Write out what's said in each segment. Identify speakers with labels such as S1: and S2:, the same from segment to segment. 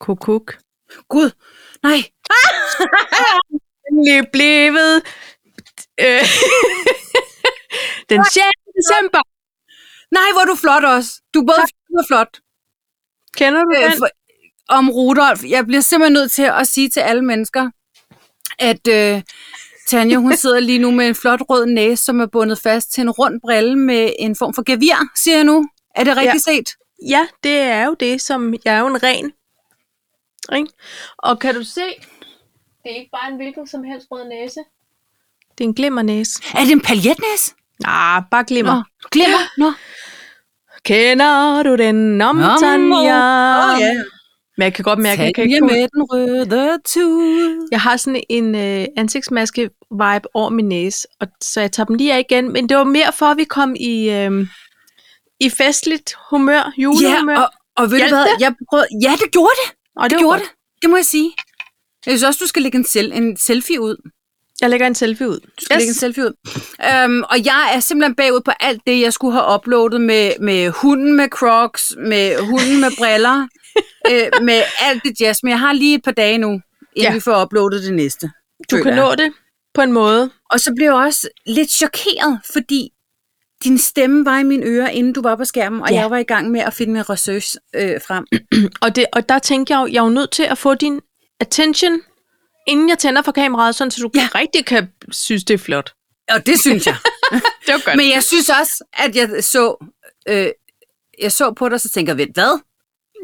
S1: Kukuk.
S2: Gud, nej.
S1: Den er blevet øh, den 6. december.
S2: Nej, hvor er du flot også. Du er både flot og flot.
S1: Kender du
S2: Øh,
S1: den?
S2: for, om Rudolf. Jeg bliver simpelthen nødt til at sige til alle mennesker, at øh, Tanja, hun sidder lige nu med en flot rød næse, som er bundet fast til en rund brille med en form for gevir, siger jeg nu. Er det rigtigt ja. set?
S3: Ja, det er jo det, som jeg er jo en ren. Ikke? Og kan du se, det er ikke bare en hvilken som helst rød næse. Det er en glimmernæse.
S2: Er det en paljetnæs?
S3: Nej, bare glimmer.
S2: Nå, glemmer. Nå.
S3: Kender du den om,
S2: Nå,
S3: Tanja?
S2: Åh, ja.
S3: Men jeg kan godt mærke, at jeg kan
S2: Tanja
S3: ikke
S2: med den røde tud.
S3: Jeg har sådan en øh, ansigtsmaske-vibe over min næse, og, så jeg tager dem lige af igen. Men det var mere for, at vi kom i, øh, i festligt humør,
S2: Ja,
S3: julehumør.
S2: og, og ved du
S3: Hjalp
S2: hvad?
S3: det?
S2: Jeg prøvede, ja, det gjorde det.
S3: og
S2: Det
S3: var
S2: gjorde
S3: godt.
S2: det. Det må jeg sige. Jeg synes også, du skal lægge en, sel- en selfie ud.
S3: Jeg lægger en selfie ud.
S2: Du skal yes. lægge en selfie ud. Øhm, og jeg er simpelthen bagud på alt det, jeg skulle have uploadet med, med hunden med crocs, med hunden med briller, øh, med alt det jazz. Men jeg har lige et par dage nu, inden ja.
S3: Ja.
S2: vi får uploadet det næste.
S3: du
S2: føler
S3: kan
S2: jeg.
S3: nå det på en måde.
S2: Og så blev jeg også lidt chokeret, fordi din stemme var i mine ører, inden du var på skærmen, og
S3: Ja.
S2: ja. jeg var i gang med at finde min research øh, frem.
S3: Og, det, og der tænker jeg jo, jeg er jo nødt til at få din attention, inden jeg tænder for kameraet, sådan, så du ja. rigtig kan synes, det er flot.
S2: Og det synes jeg.
S3: Det var godt. Men,
S2: Men jeg synes også, at jeg så, øh, jeg så på dig, så tænker jeg, ved hvad?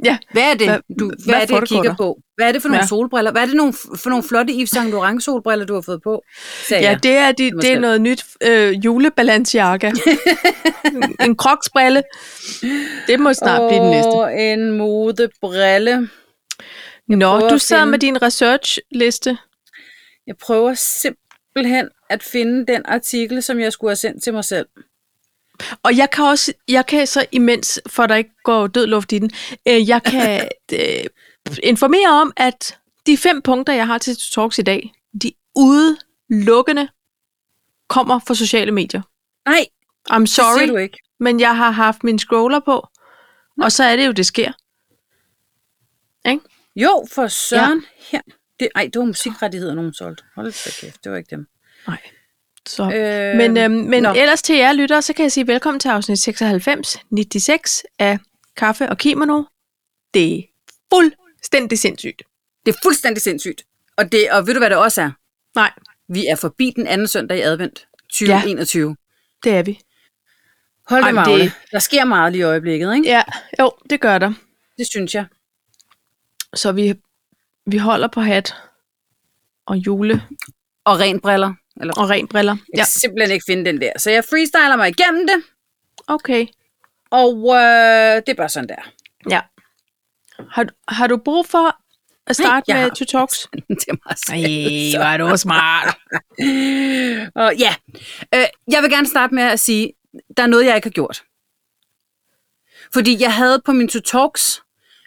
S3: ja.
S2: Hvad er det,
S3: Hvad-
S2: du,
S3: hvad
S2: hvad er det
S3: får
S2: jeg
S3: du på
S2: kigger
S3: dig?
S2: på? Hvad er det for nogle
S3: Ja.
S2: solbriller? Hvad er det nogle, for nogle flotte Yves Saint Laurent solbriller, du har fået på? Sagde
S3: Ja,
S2: jeg.
S3: det er, de,
S2: mig
S3: det er
S2: selv.
S3: noget nyt øh, julebalanciakke. en kroksbrille. Det må snart blive den næste.
S2: Åh, en modebrille.
S3: Nå,
S2: prøver
S3: du
S2: at
S3: sad
S2: finde-
S3: med din researchliste.
S2: Jeg prøver simpelthen at finde den artikel, som jeg skulle have sendt til mig selv.
S3: Og jeg kan også, jeg kan så imens, for der ikke går død luft i den, øh, jeg kan øh, informere om, at de fem punkter, jeg har til Talks i dag, de udelukkende kommer fra sociale medier.
S2: Nej,
S3: I'm
S2: det
S3: sorry,
S2: siger du ikke.
S3: men jeg har haft min scroller på, og så er det jo, det sker.
S2: Jo, for søren ja. her. Det, ej, det var musikrettigheder, nogen solgte. Hold da kæft, det var ikke dem.
S3: Nej. Så. Øh,
S2: Øh,
S3: men øhm, men
S2: nå.
S3: ellers til jer lyttere, så kan jeg sige velkommen til afsnit 96, 96 af Kaffe og Kimono. Det er fuldstændig sindssygt.
S2: Det er fuldstændig sindssygt. Og, det, og ved du, hvad det også er?
S3: Nej,
S2: Vi er forbi den anden søndag i advent 2021. Ja.
S3: det er vi.
S2: Hold
S3: Ej,
S2: da,
S3: men det-
S2: Magne. Det... Der sker meget lige i øjeblikket, ikke?
S3: Ja, jo, det gør der.
S2: Det synes jeg.
S3: Så vi, vi holder på hat og jule
S2: Og ren briller. Eller,
S3: og renbriller. Ja,
S2: jeg kan simpelthen ikke finde den der. Så jeg freestyler mig igennem det,
S3: okay.
S2: og øh, det er bare sådan der.
S3: Ja. Har, du- har du brug for at starte
S2: jeg
S3: Nej, med
S2: har-
S3: To Talks?
S2: det er meget
S3: Ej, hvor er du smart.
S2: og, ja. Øh, jeg vil gerne starte med at sige, der er noget, jeg ikke har gjort. Fordi jeg havde på min to talks,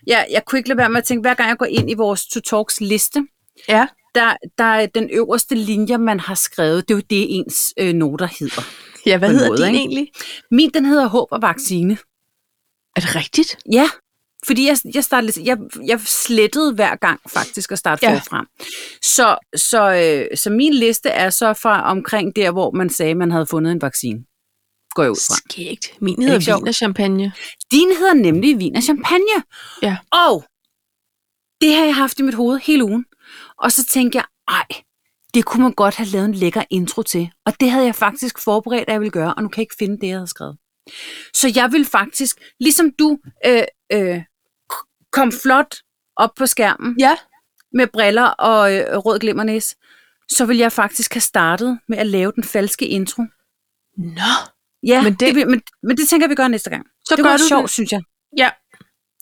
S2: jeg, jeg kunne ikke lade være med at tænke, hver gang jeg går ind i vores to talks liste,
S3: Ja,
S2: der, der er den øverste linje, man har skrevet, det er jo det, ens øh, noter hedder.
S3: ja hvad
S2: På en
S3: hedder
S2: måde,
S3: din
S2: ikke?
S3: egentlig?
S2: Min, den hedder håb og vaccine.
S3: Er det rigtigt?
S2: Ja, fordi jeg, jeg, startede, lidt- jeg, jeg slettede hver gang faktisk at starte
S3: Ja.
S2: ja. forfra. Så, så, øh, så min liste er så fra omkring der, hvor man sagde, man havde fundet en vaccine. Går jeg ud fra.
S3: Skægt. Min
S2: ikke
S3: hedder
S2: sjovt?
S3: vin og champagne.
S2: Din hedder nemlig vin og champagne.
S3: Ja.
S2: Og det har jeg haft i mit hoved hele ugen. Og så tænkte jeg, ej, det kunne man godt have lavet en lækker intro til. Og det havde jeg faktisk forberedt, at jeg ville gøre, og nu kan jeg ikke finde det, jeg havde skrevet. Så jeg vil faktisk, ligesom du øh, øh, k- kom flot op på skærmen
S3: Ja,
S2: med briller og øh, rød glimmernæs, så vil jeg faktisk have startet med at lave den falske intro.
S3: nå.
S2: Ja,
S3: Men
S2: men
S3: det-
S2: det, det, vil- men, men det tænker jeg, vi gør næste gang.
S3: Så
S2: det
S3: gør
S2: var
S3: du
S2: sjovt,
S3: det.
S2: synes jeg.
S3: Ja.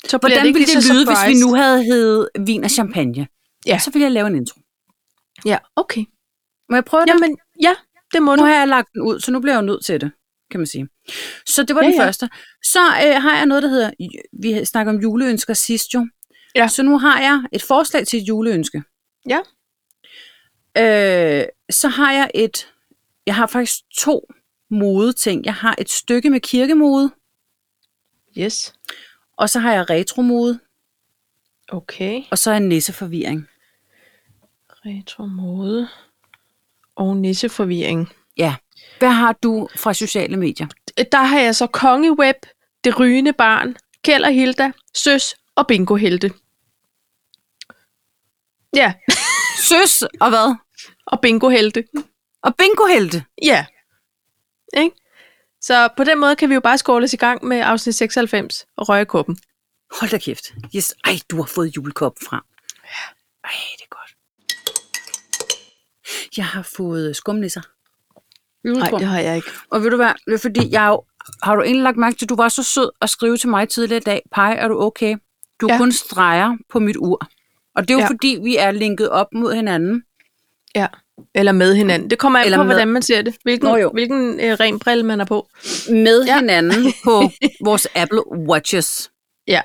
S3: Så bliver
S2: Hvordan
S3: ikke
S2: ville
S3: lige
S2: det
S3: så
S2: lyde, hvis vi
S3: surprise?
S2: nu havde hed vin og champagne?
S3: Ja.
S2: Så ville jeg lave en intro.
S3: Ja, okay.
S2: Må jeg prøve det?
S3: Jamen, ja, det må
S2: Nu
S3: du.
S2: har jeg lagt den ud, så nu bliver jeg jo nødt til det, kan man sige. Så det var
S3: Ja,
S2: ja, den
S3: ja.
S2: første. Så øh, har jeg noget, der hedder, vi snakker om juleønsker sidst jo.
S3: Ja.
S2: Så nu har jeg et forslag til et juleønske.
S3: Ja.
S2: Øh, så har jeg et, jeg har faktisk to modeting. Jeg har et stykke med kirkemode,
S3: Yes.
S2: og så har jeg retromode.
S3: Okay.
S2: Og så en nisseforvirring.
S3: Retromode og nisseforvirring.
S2: Ja. Hvad har du fra sociale medier?
S3: Øh, Der har jeg så Kongeweb, Det Rygende Barn, Kjell og Hilda, Søs og Bingo Helte. Ja,
S2: Søs og hvad?
S3: og Bingo Helte.
S2: Og bingohelte.
S3: Ja. Ikke? Så på den måde kan vi jo bare skåle os i gang med afsnit 96 og røge kuppen.
S2: Hold da kæft. Yes. Ej, du har fået julekop frem. Ej, det er godt. Jeg har fået skumnisser.
S3: Nej, det har jeg ikke.
S2: Og ved du hvad, det er fordi, jeg er jo, har du egentlig lagt mærke til, at du var så sød at skrive til mig tidligere i dag, Pej, er du okay? Du ja.
S3: Ja.
S2: kun streger på mit ur. Og det er jo ja.
S3: Ja.
S2: fordi, vi er linket op mod hinanden.
S3: Ja. Eller med hinanden. Det kommer an
S2: Eller
S3: på,
S2: med-
S3: hvordan man ser det. Hvilken,
S2: Nå jo.
S3: hvilken øh, ren brille man er på.
S2: med ja.
S3: Ja.
S2: hinanden på vores Apple Watches.
S3: Ja.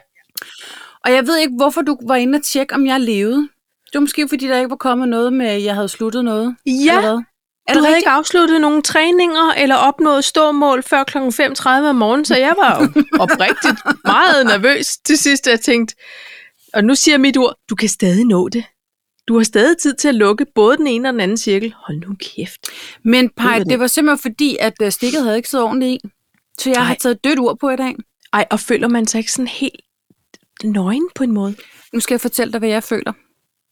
S2: Og jeg ved ikke, hvorfor du var inde og tjekke, om jeg levede. Det var måske, fordi der ikke var kommet noget med, at jeg havde sluttet noget.
S3: Ja,
S2: eller hvad? Er
S3: du
S2: det
S3: havde
S2: rigtigt?
S3: ikke afsluttet nogen træninger eller opnået ståmål før kl. 5.30 om morgenen, så jeg var jo oprigtigt meget nervøs til sidst. Jeg tænkte, og nu siger mit ord, du kan stadig nå det. Du har stadig tid til at lukke både den ene og den anden cirkel. Hold nu kæft.
S2: Men
S3: Ved
S2: Paj,
S3: du det?
S2: det var simpelthen fordi, at øh, stikket havde ikke siddet ordentligt i. Så jeg Ej. har
S3: Nej.
S2: taget dødt ur på i dag.
S3: Ej, og føler man sig ikke sådan helt nøgen på en måde?
S2: Nu skal jeg fortælle dig, hvad jeg føler.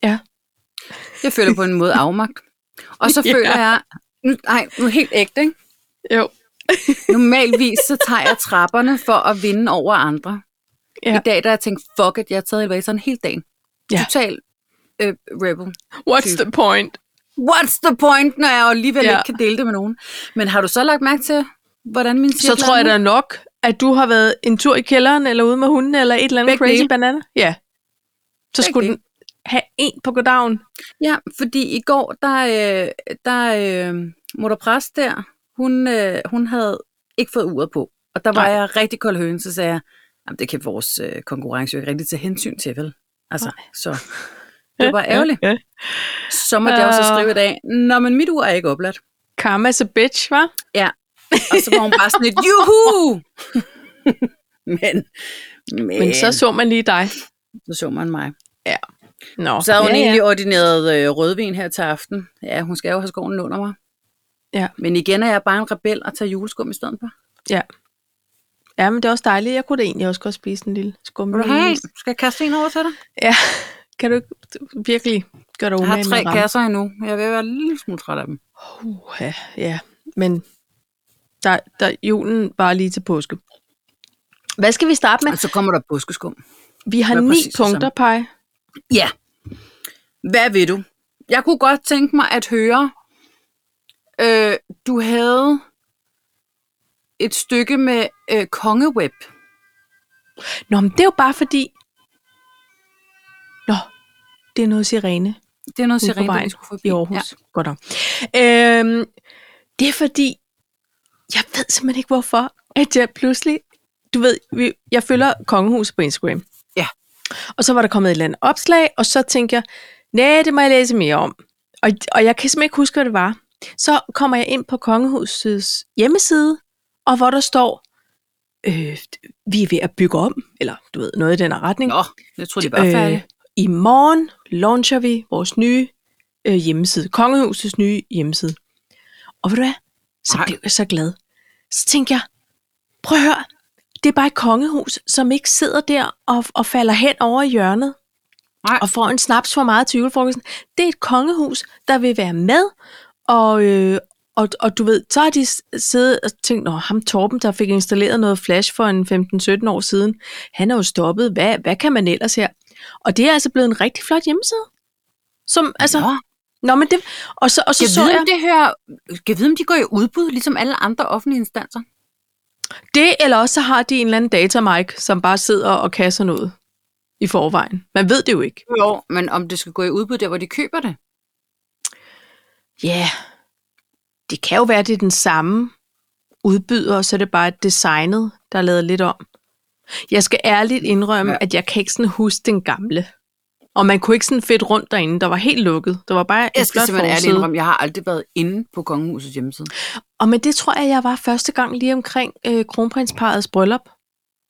S3: Ja.
S2: Jeg føler på en måde afmagt. Og så
S3: Ja.
S2: føler jeg... Nu, ej, nu er helt ægte, ikke?
S3: Jo.
S2: Normalvis så tager jeg trapperne for at vinde over andre. Ja.
S3: Ja.
S2: I dag der har jeg tænkt, fuck it, jeg har taget elevatoren hele dagen. Ja.
S3: Ja.
S2: Total øh, rebel.
S3: What's the point?
S2: What's the point, når jeg alligevel ja.
S3: Ja.
S2: ikke kan dele det med nogen? Men har du så lagt mærke til, hvordan min
S3: Så tror jeg da nok, at du har været en tur i kælderen, eller ude med hunden, eller et eller andet
S2: Begge
S3: crazy
S2: dele.
S3: banana. Ja. Så
S2: Begge
S3: skulle
S2: dele.
S3: den have en på goddagen.
S2: Ja, fordi i går, der, øh, der øh, mutter præst der, hun, øh, hun havde ikke fået uret på. Og der var Nej.
S3: Nej.
S2: jeg rigtig kold høen, så sagde jeg, jamen det kan vores øh, konkurrence jo ikke rigtig tage hensyn til, vel? Altså, Nej. så det var bare ærgerligt.
S3: Ja.
S2: Så måtte jeg også
S3: Øh.
S2: skrive i dag, nå, men mit ur er ikke opladt.
S3: Karma's a bitch, hva'?
S2: Og så var hun bare sådan lidt, juhu! men, men,
S3: Men så så man lige dig.
S2: så så man mig.
S3: Nå,
S2: Så havde hun
S3: ja,
S2: ja,
S3: ja.
S2: egentlig ordineret øh, rødvin her til aften. Ja, hun skal jo have skoven under mig.
S3: Ja.
S2: Men igen er jeg bare en rebel og tager juleskum i stedet for.
S3: ja, men det er også dejligt. Jeg kunne da egentlig også godt spise en lille
S2: Vil
S3: skummel.
S2: du have en? Skal jeg kaste en over til dig?
S3: Ja, kan du ikke du- virkelig gøre dig
S2: Jeg
S3: umage
S2: har
S3: med
S2: tre
S3: ramme?
S2: kasser endnu. Jeg vil være en lille smule træt af dem.
S3: Uh, ja, ja, men der, der, julen var lige til påske. Hvad skal vi starte med?
S2: Og så kommer der påskeskum.
S3: Vi har
S2: Hvad er
S3: ni
S2: præcis det
S3: punkter, Paj.
S2: Ja. Hvad vil du? Jeg kunne godt tænke mig at høre, øh, du havde et stykke med øh, kongeweb.
S3: Nå, men det er jo bare fordi... Nå, det er noget sirene.
S2: Det er noget
S3: Ude på
S2: sirene, vi
S3: vejen
S2: skulle
S3: i
S2: forbi. Ja.
S3: Aarhus. Ja. Godt nok. Øhm, det er fordi, jeg ved simpelthen ikke hvorfor, at jeg pludselig, du ved, vi, jeg følger Kongehuset på Instagram.
S2: Ja.
S3: Og så var der kommet et eller andet opslag, og så tænkte jeg, nej, det må jeg læse mere om. Og, og jeg kan simpelthen ikke huske, hvad det var. Så kommer jeg ind på Kongehusets hjemmeside, og hvor der står, øh, vi er ved at bygge om, eller du ved, noget i den her retning.
S2: Nå, jeg tror, de var færdige.
S3: Øh, I morgen launcher vi vores nye øh, hjemmeside, Kongehusets nye hjemmeside. Og ved du hvad? Så
S2: Nej.
S3: blev jeg så glad. Så tænkte jeg, prøv at høre, det er bare et kongehus, som ikke sidder der og, og falder hen over i hjørnet
S2: Nej.
S3: og får en snaps for meget til julefrokosten. Det er et kongehus, der vil være med, og, øh, og, og du ved, så har de s- siddet og tænkt, Nå, ham Torben, der fik installeret noget flash for en 15-17 år siden, han er jo stoppet, hvad, hvad kan man ellers her? Og det er altså blevet en rigtig flot hjemmeside. Som, altså,
S2: Nå.
S3: Nå, men det, og så, og så,
S2: Kan
S3: så
S2: vide,
S3: jeg,
S2: om det her, kan vide, om de går i udbud, ligesom alle andre offentlige instanser?
S3: Det, eller også så har de en eller anden datamike, som bare sidder og kasser noget i forvejen. Man ved det jo ikke.
S2: Jo. Men om det skal gå i udbud der, hvor de køber det?
S3: Ja, yeah. det kan jo være, det er den samme udbyder, og så er det bare designet, der er lavet lidt om. Jeg skal ærligt indrømme,
S2: Ja.
S3: ja. at jeg kan ikke sådan huske den gamle. Og man kunne ikke sådan fedt rundt derinde. Der var helt lukket. Der var bare
S2: Jeg
S3: en
S2: skal
S3: flot
S2: simpelthen ærligt
S3: forside.
S2: indrømme, jeg har aldrig været inde på Kongehusets hjemmeside.
S3: Og men det tror jeg, jeg var første gang lige omkring øh, kronprinsparets bryllup,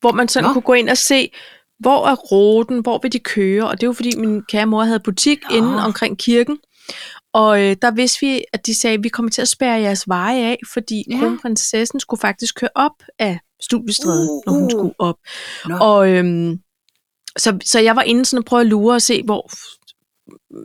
S3: hvor man sådan
S2: Nå.
S3: Nå. kunne gå ind og se, hvor er ruten, hvor vil de køre? Og det er jo fordi, min kære mor havde butik Nå. inden omkring kirken. Og øh, der vidste vi, at de sagde, at vi kommer til at spærre jeres veje af, fordi
S2: Ja.
S3: ja. kronprinsessen skulle faktisk køre op af studiestrædet,
S2: Uh,
S3: uh, når hun
S2: uh.
S3: skulle op.
S2: Nå.
S3: Og øhm, så, så jeg var inde sådan og prøve at lure og se, hvor,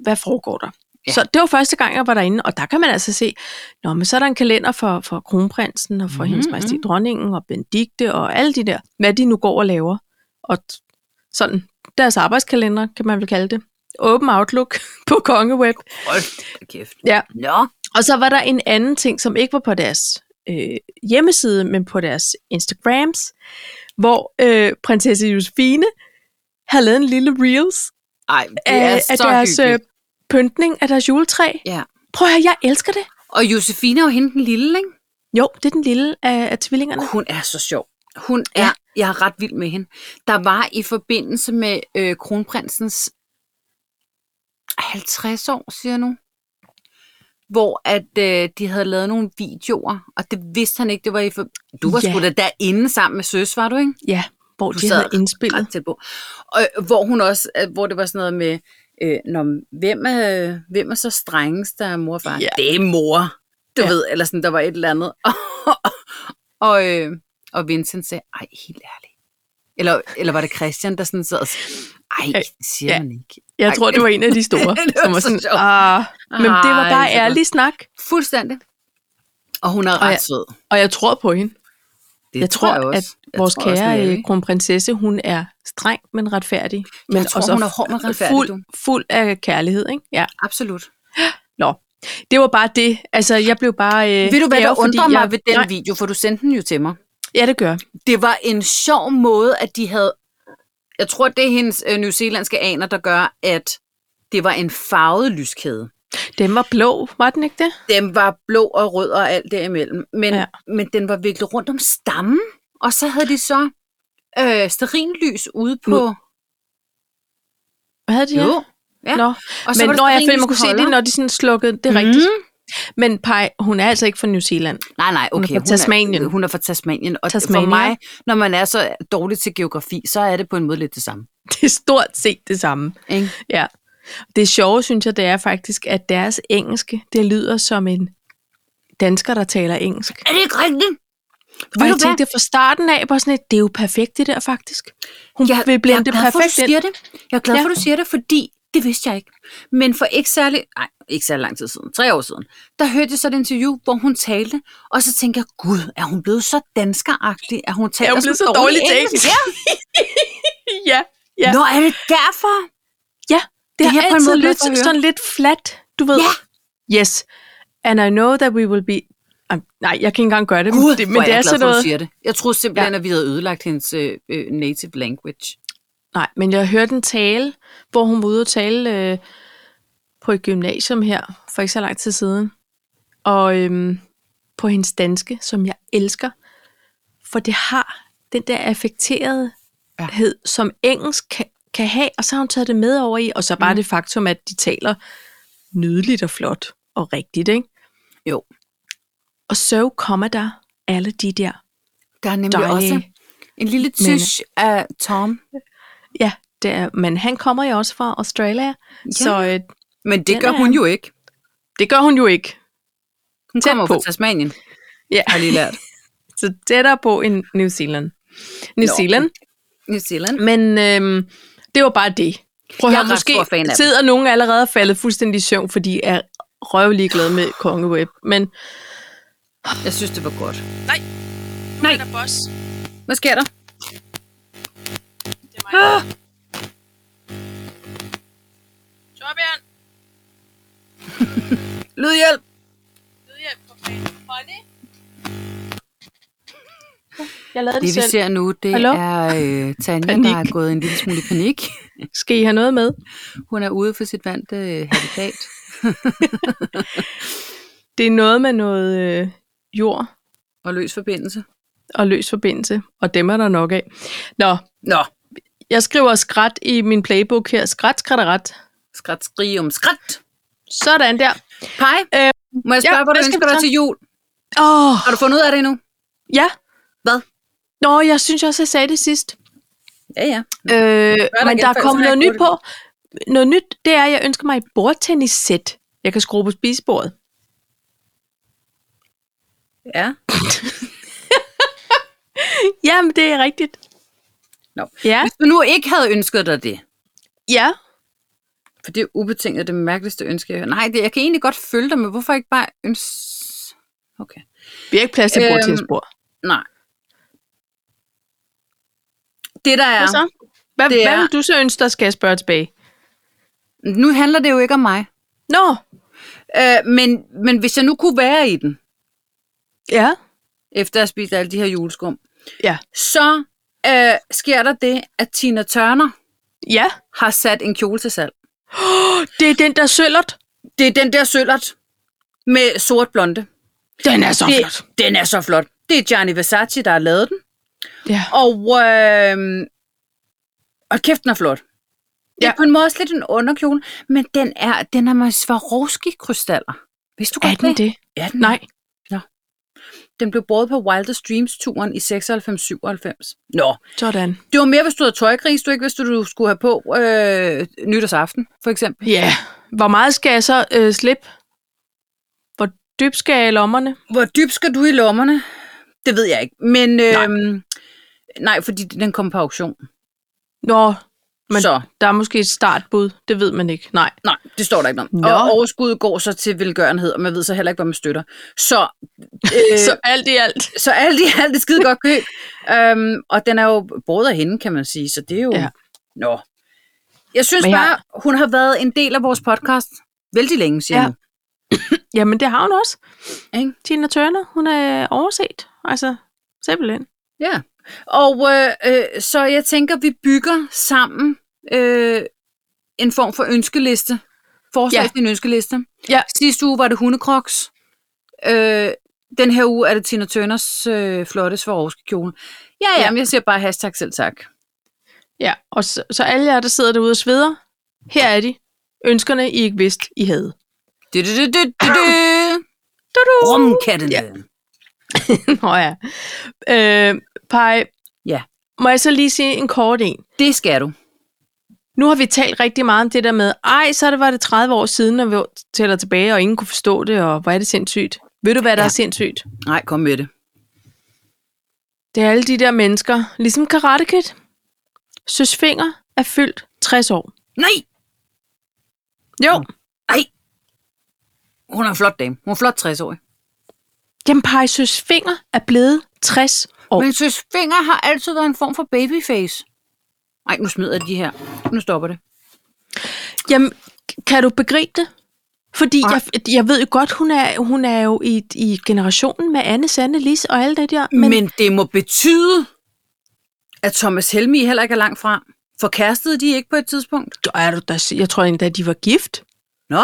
S3: hvad foregår der.
S2: Ja.
S3: Ja. Så det var første gang, jeg var derinde, og der kan man altså se, nå, men så er der en kalender for, for kronprinsen og for mm-hmm. hendes
S2: Mhm,
S3: majestæt dronningen og Benedikte og alle de der, hvad de nu går og laver. Og t- sådan, deres arbejdskalender, kan man vel kalde det. Åben Outlook på Kongeweb.
S2: Hold kæft.
S3: Ja.
S2: Nå.
S3: Og så var der en anden ting, som ikke var på deres øh, hjemmeside, men på deres Instagrams, hvor øh, prinsesse Josefine havde lavet en lille reels
S2: Ej, det er
S3: af, af
S2: så
S3: deres øh,
S2: hyggeligt.
S3: pyntning af deres juletræ.
S2: Ja.
S3: Prøv at høre, jeg elsker det.
S2: Og Josefine er jo hende den lille, ikke?
S3: Jo, det er den lille af, af tvillingerne.
S2: Hun er så sjov. Hun er, ja. jeg er ret vild med hende. Der var i forbindelse med øh, kronprinsens 50 år, siger jeg nu, hvor at øh, de havde lavet nogle videoer, og det vidste han ikke, det var i for... Du var ja.
S3: Ja.
S2: sgu da derinde sammen med søs, var du ikke?
S3: Ja, hvor
S2: Du
S3: de
S2: sad
S3: havde indspillet.
S2: Ret tæt på. Og, øh, hvor hun også, øh, hvor det var sådan noget med, øh, når, hvem, er, hvem er så strengest, der er mor og far?
S3: Ja.
S2: Det er mor, du
S3: Ja.
S2: ved, eller sådan, der var et eller andet. og, øh, og Vincent sagde, ej, helt ærligt. Eller, eller var det Christian, der sådan sad og sagde, ej,
S3: Øh,
S2: det siger
S3: ja.
S2: man ikke.
S3: Jeg
S2: Ej,
S3: tror, det var en af de store,
S2: Det var
S3: som var
S2: så
S3: sådan,
S2: sjovt.
S3: ah, men det var
S2: Ej,
S3: bare
S2: så godt.
S3: ærlig snak,
S2: Fuldstændig. Og hun er
S3: Og jeg-
S2: ret sød.
S3: og jeg tror på hende.
S2: Det
S3: jeg tror,
S2: også.
S3: at vores
S2: tror også,
S3: kære
S2: hun er
S3: øh,
S2: det.
S3: kronprinsesse, hun er streng, men retfærdig. Men
S2: tror, hun er hård, men retfærdig,
S3: fuld,
S2: du.
S3: fuld af kærlighed, ikke? Ja.
S2: Absolut.
S3: Nå, det var bare det. Altså, jeg blev bare... Øh,
S2: Ved du, hvad
S3: det er
S2: der
S3: jo, fordi
S2: undrer mig
S3: jeg,
S2: ved den
S3: Nej,
S2: video, for du sendte den jo til mig.
S3: Ja, det gør.
S2: det var en sjov måde, at de havde... Jeg tror, det er hendes øh, nyzelandske aner, der gør, at det var en farvet lyskæde.
S3: Den var blå, var den ikke det?
S2: Den var blå og rød og alt derimellem. Men, ja.
S3: Ja.
S2: men den var virkelig rundt om stammen. Og så havde de så øh, sterinlys ude på...
S3: Nu- Hvad havde de her?
S2: Jo. Ja.
S3: Nå,
S2: og
S3: men når jeg følte, man kunne se det,
S2: sterinlysholder.
S3: når de sådan slukkede, det er mm. rigtigt. Men Paj, hun er altså ikke fra New Zealand.
S2: Nej, nej, okay.
S3: Hun er fra Tasmanien.
S2: Hun er fra Tasmanien. Og Tasmania. for
S3: Tasmania.
S2: mig, når man er så dårlig til geografi, så er det på en måde lidt det samme.
S3: Det er stort set det samme.
S2: Ikke?
S3: Ja. Det sjove, synes jeg, det er faktisk, at deres engelske, det lyder som en dansker, der taler engelsk.
S2: Er det ikke rigtigt?
S3: Og
S2: Ved
S3: jeg
S2: du hvad?
S3: tænkte fra starten af, bare sådan lidt, det er jo perfekt det der faktisk. Hun jeg, vil blande det
S2: jeg er glad for,
S3: perfekt
S2: du
S3: ind.
S2: siger det. Jeg er glad
S3: Ja.
S2: for, du siger det, fordi det vidste jeg ikke. Men for ikke særlig, nej, ikke særlig lang tid siden, tre år siden, der hørte jeg så et interview, hvor hun talte, og så tænker jeg, gud, er hun blevet så danskeragtig, at hun taler
S3: hun blevet så dårlig til engelsk?
S2: Ja.
S3: Ja, ja.
S2: Nå, er det derfor?
S3: ja. Det,
S2: Det
S3: det
S2: er
S3: har
S2: jeg på en
S3: altid
S2: måde glad
S3: lyttet
S2: for
S3: sådan,
S2: at høre.
S3: sådan lidt flat, du ved.
S2: Ja.
S3: Yes. And I know that we will be... Um, nej, jeg kan ikke engang gøre det,
S2: Gud,
S3: men Øhm, det,
S2: hvor
S3: men det
S2: jeg
S3: er
S2: glad
S3: sådan
S2: for, du
S3: noget...
S2: siger det. Jeg troede simpelthen, at vi havde ødelagt hendes øh, øh, native language.
S3: Nej, men jeg hørte en tale, hvor hun var ude og tale øh, på et gymnasium her, for ikke så lang tid siden. Og øhm, på hendes danske, som jeg elsker. For det har den der affekterethed,
S2: Ja.
S3: ja. som engelsk kan, kan have, og så har hun taget det med over i. Og så bare mm. det faktum, at de taler nydeligt og flot og rigtigt, ikke?
S2: Jo.
S3: Og så kommer der alle de der
S2: Der er nemlig
S3: dejlige...
S2: også en lille
S3: Men-
S2: tysk af Tom.
S3: Ja, det er, men han kommer jo også fra Australia, ja. så øh,
S2: Men det
S3: Den
S2: gør
S3: er-
S2: hun jo ikke.
S3: det gør hun jo ikke.
S2: Hun
S3: Tæt
S2: kommer fra
S3: på.
S2: Tasmanien,
S3: Ja,
S2: har jeg lige lært.
S3: så tættere på end New Zealand. New
S2: Nå.
S3: Zealand,
S2: New Zealand.
S3: men øhm, det var bare det. Prøv at
S2: Jeg er
S3: høre,
S2: ret stor
S3: måske
S2: fan af dem.
S3: sidder nogen allerede og faldet fuldstændig i søvn, fordi er røvelig glade med Kongeweb. Men
S2: Jeg synes, det var godt.
S3: Nej. er der boss.
S2: Hvad sker der?
S3: Det er mig. Ah. Torbjørn,
S2: Lydhjælp!
S3: lydhjælp for fanden. Honey? Jeg lavede det,
S2: Det vi
S3: selv.
S2: ser nu, det Hallo?
S3: Hallo?
S2: er øh, Tanja, panik.
S3: Panik.
S2: der er gået en lille smule i panik.
S3: Skal I have noget med?
S2: Hun er ude for sit vante øh, habitat.
S3: Det er noget med noget øh, jord
S2: Og løs forbindelse.
S3: og løs forbindelse, og dem er der nok af. Nå,
S2: Nå,
S3: jeg skriver skrat i min playbook her. Skrat, skrat, og ret.
S2: skrat, skrig om skrat.
S3: Sådan der.
S2: Pej,
S3: Øh,
S2: må jeg spørge, ja,
S3: ja,
S2: hvad du
S3: hvad skal
S2: ønsker
S3: vi
S2: dig
S3: så?
S2: til jul?
S3: Åh, oh,
S2: Har du fundet ud af det endnu?
S3: ja.
S2: Hvad?
S3: Nå, jeg synes også, jeg sagde det sidst.
S2: Ja, ja.
S3: Øh, men der
S2: igen,
S3: er kommet
S2: for ellers har jeg
S3: noget nyt
S2: ikke
S3: på. Noget nyt, det er, at jeg ønsker mig et bordtennissæt. Jeg kan skrue på spisebordet.
S2: ja.
S3: Jamen, det er rigtigt.
S2: Nå.
S3: Ja.
S2: Hvis du nu ikke havde ønsket dig det,
S3: Ja.
S2: for det er ubetinget det mærkeligste ønske, jeg har. Nej, det, jeg kan egentlig godt følge dig, men hvorfor ikke bare ønske... Okay.
S3: Vi har ikke plads til
S2: Øhm,
S3: bordtennisbord.
S2: Nej. Det der er...
S3: Hvad så? Hvad,
S2: det
S3: hvad
S2: er-
S3: vil du så ønske dig, skal jeg spørge tilbage?
S2: Nu handler det jo ikke om mig.
S3: Nå,
S2: Øh, men, men hvis jeg nu kunne være i den,
S3: ja.
S2: efter at have spist alle de her juleskum,
S3: Ja.
S2: så øh, sker der det, at Tina Turner
S3: Ja,
S2: har sat en kjole til salg.
S3: det er den der søllert.
S2: Det er den der søllert med sort blonde.
S3: Den er så
S2: det, Den er så flot. Det er Gianni Versace, der har lavet den.
S3: Ja.
S2: Og, øh, og kæft, den er flot. Det er
S3: Ja.
S2: på en måde også lidt en underkjole, men den er, den er med Swarovski-krystaller. Hvis du
S3: Er
S2: godt
S3: den det?
S2: Ja, den,
S3: Nej.
S2: den blev båret på Wildest Dreams-turen i 96-97. Nå,
S3: Sådan.
S2: det var mere, hvis du havde tøjgris, du ikke vidste, du skulle have på øh, nytårsaften, for eksempel.
S3: Ja. Hvor meget skal jeg så øh, slippe? Hvor dybt skal jeg i lommerne?
S2: Hvor dybt skal du i lommerne? Det ved jeg ikke, men... Øh, nej. nej, fordi den kom på auktion.
S3: Nå, Men-
S2: Så.
S3: der er måske et startbud. Det ved man ikke. Nej.
S2: Nej, det står der ikke om.
S3: Nå.
S2: Og overskuddet går så til velgørenhed, og man ved så heller ikke, hvad man støtter. Så, øh, så.
S3: Så alt i alt.
S2: så alt i alt er skide godt køb. øhm, og den er jo både af hende, kan man sige, så det er jo...
S3: Ja.
S2: Ja. Nå. Jeg synes
S3: Men
S2: jeg...
S3: jeg-
S2: bare, hun har været en del af vores podcast vældig længe, siger
S3: Ja.
S2: ja.
S3: Jamen, det har hun også.
S2: Ikke?
S3: Tina Turner, hun er overset. Altså, simpelthen.
S2: ja. Og øh, øh, så jeg tænker, vi bygger sammen øh, en form for ønskeliste. Forslag
S3: Ja.
S2: ja. til en ønskeliste.
S3: Ja.
S2: Sidste uge var det hundekroks. Øh, den her uge er det Tina Turners øh, flotte Swarovski kjole. Ja, ja,
S3: Ja.
S2: ja, men jeg siger bare hashtag selv tak.
S3: Ja, og så, så alle jer, der sidder derude og sveder, her er de. Ønskerne, I ikke vidste, I havde.
S2: Du, du, du, du, du, du. Rumkatten.
S3: Ja.
S2: Ja.
S3: Nå ja. Øh, Paj,
S2: Ja.
S3: må jeg så lige sige en kort en?
S2: Det skal du.
S3: Nu har vi talt rigtig meget om det der med, ej, så er det, var det 30 år siden, når vi tæller tilbage, og ingen kunne forstå det, og hvor er det sindssygt. Ved du, hvad der ja.
S2: Ja.
S3: er sindssygt?
S2: Nej, kom med det.
S3: Det er alle de der mennesker, ligesom Karate Kid. Søs Finger er fyldt 60 år.
S2: Nej!
S3: Jo.
S2: Nej! Hun er en flot dame. Hun er flot 60-årig.
S3: Jamen, Paj, Søs Finger er blevet 60 år.
S2: Men søs fingre har altid været en form for babyface. Nej, nu smider jeg de her. Nu stopper det.
S3: Jamen, kan du begribe det? Fordi
S2: Nej.
S3: jeg, jeg ved jo godt, hun er, hun er jo i, i generationen med Anne, Sanne, Lis og alle det der.
S2: Men, men det må betyde, at Thomas Helmi heller ikke er langt fra. For kærestede de ikke på et tidspunkt?
S3: er du da, jeg tror endda, de var gift.
S2: Nå.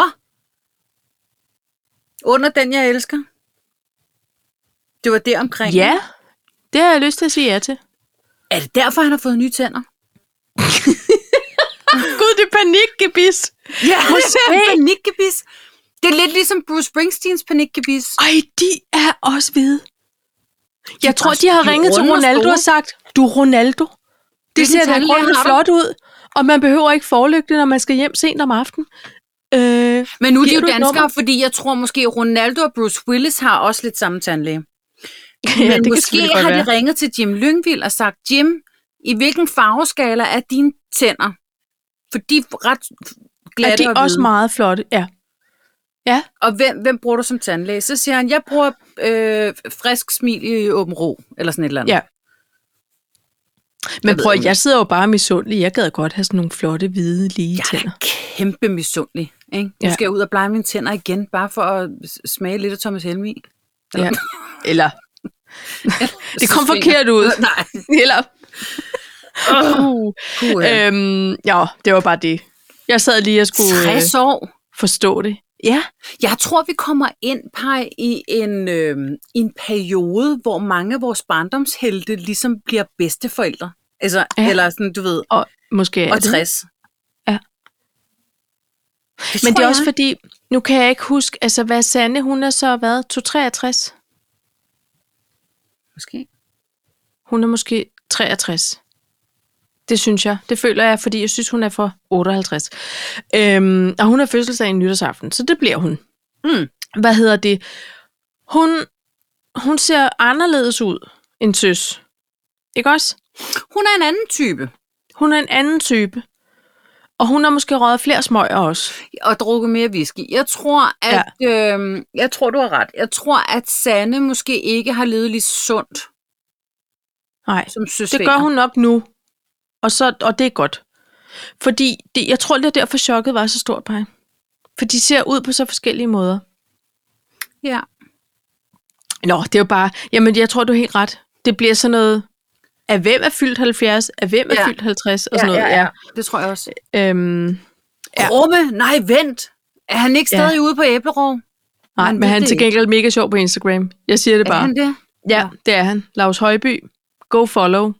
S2: Under den, jeg elsker. Det var der omkring.
S3: Ja, det har jeg lyst til at sige ja til.
S2: Er det derfor, han har fået nye tænder?
S3: Gud, det er panikgebis.
S2: Ja,
S3: Måske.
S2: panikgebis. Det er lidt ligesom Bruce Springsteens panikgebis.
S3: Ej, de er også hvide. Jeg tror,
S2: også-
S3: de har
S2: de er
S3: ringet til
S2: runde og
S3: Ronaldo
S2: store.
S3: og sagt, du er Ronaldo. Det
S2: Hvilken
S3: ser da
S2: tandlæge
S3: grundet
S2: har du?
S3: flot ud, og man behøver ikke forlygte, når man skal hjem sent om aftenen. Øh,
S2: Men nu er de
S3: Giver du
S2: jo
S3: et
S2: danskere,
S3: nummer?
S2: fordi jeg tror måske, Ronaldo og Bruce Willis har også lidt samme tandlæge.
S3: ja,
S2: Men
S3: det kan
S2: måske
S3: selvfølgelig godt
S2: har
S3: være.
S2: de ringet til Jim Lyngvild og sagt, Jim, i hvilken farveskala er dine tænder? For de er ret glatte
S3: er de
S2: og
S3: også
S2: hvide.
S3: meget flotte. Ja.
S2: Og hvem, hvem bruger du som tandlæge? Så siger han, jeg bruger øh, frisk smil i åben ro, eller sådan et eller andet.
S3: Ja. Men
S2: ved
S3: prøv, at-
S2: ikke.
S3: jeg sidder jo bare misundelig. Jeg gad godt have sådan nogle flotte, hvide, lige
S2: Jeg
S3: tænder.
S2: er kæmpe misundelig. Ikke? Nu
S3: Ja.
S2: skal jeg ud og blege mine tænder igen, bare for at s- smage lidt af Thomas Helmi.
S3: Ja. Eller, det kom
S2: Så svinger-
S3: forkert ud.
S2: Nej.
S3: Eller, uh,
S2: Puh, øh,
S3: øhm, ja, det var bare det. Jeg sad lige og skulle øh,
S2: 60 år.
S3: forstå det. Ja,
S2: Jeg tror, vi kommer ind Paj, i en, øh, en periode, hvor mange af vores barndomshelte ligesom bliver bedsteforældre. Altså,
S3: Ja.
S2: ja. eller sådan, du ved,
S3: og måske er
S2: og
S3: det.
S2: 60.
S3: Ja.
S2: Det
S3: Men
S2: tror
S3: det er også
S2: jeg.
S3: fordi, nu kan jeg ikke huske, altså hvad Sande, hun er så været 263.
S2: Måske.
S3: Hun er måske 63. Det synes jeg. Det føler jeg, fordi jeg synes, hun er for 58. Øhm, og hun har fødselsdag i nytårsaften, så det bliver hun.
S2: Mm.
S3: Hvad hedder det? Hun, hun ser anderledes ud end søs. Ikke også?
S2: Hun er en anden type.
S3: Hun er en anden type. Og hun har måske røget flere smøger også.
S2: og drukke mere whisky. Jeg tror, at ja. øhm, jeg tror, du har ret. Jeg tror, at Sanne måske ikke har levet lige så sundt
S3: Nej,
S2: som søster.
S3: det gør hun nok nu. Og, så, og det er godt. Fordi det, jeg tror, det er derfor chokket var så stort, Paj. For de ser ud på så forskellige måder.
S2: Ja.
S3: Nå, det er jo bare... Jamen, jeg tror, du er helt ret. Det bliver sådan noget... Af hvem er fyldt 70? Af hvem er
S2: Ja.
S3: ja. fyldt 50? Og sådan noget.
S2: Det tror jeg også.
S3: ja. Øhm, Ja.
S2: Ja. Rumme, nej, vent. Er han ikke
S3: Ja.
S2: stadig ude på æblerov?
S3: nej,
S2: Man
S3: men
S2: ved
S3: han er
S2: det
S3: til gengæld mega sjov på Instagram. Jeg siger det
S2: Er
S3: bare.
S2: han det?
S3: Ja, det er han. Lars Højby. Go follow.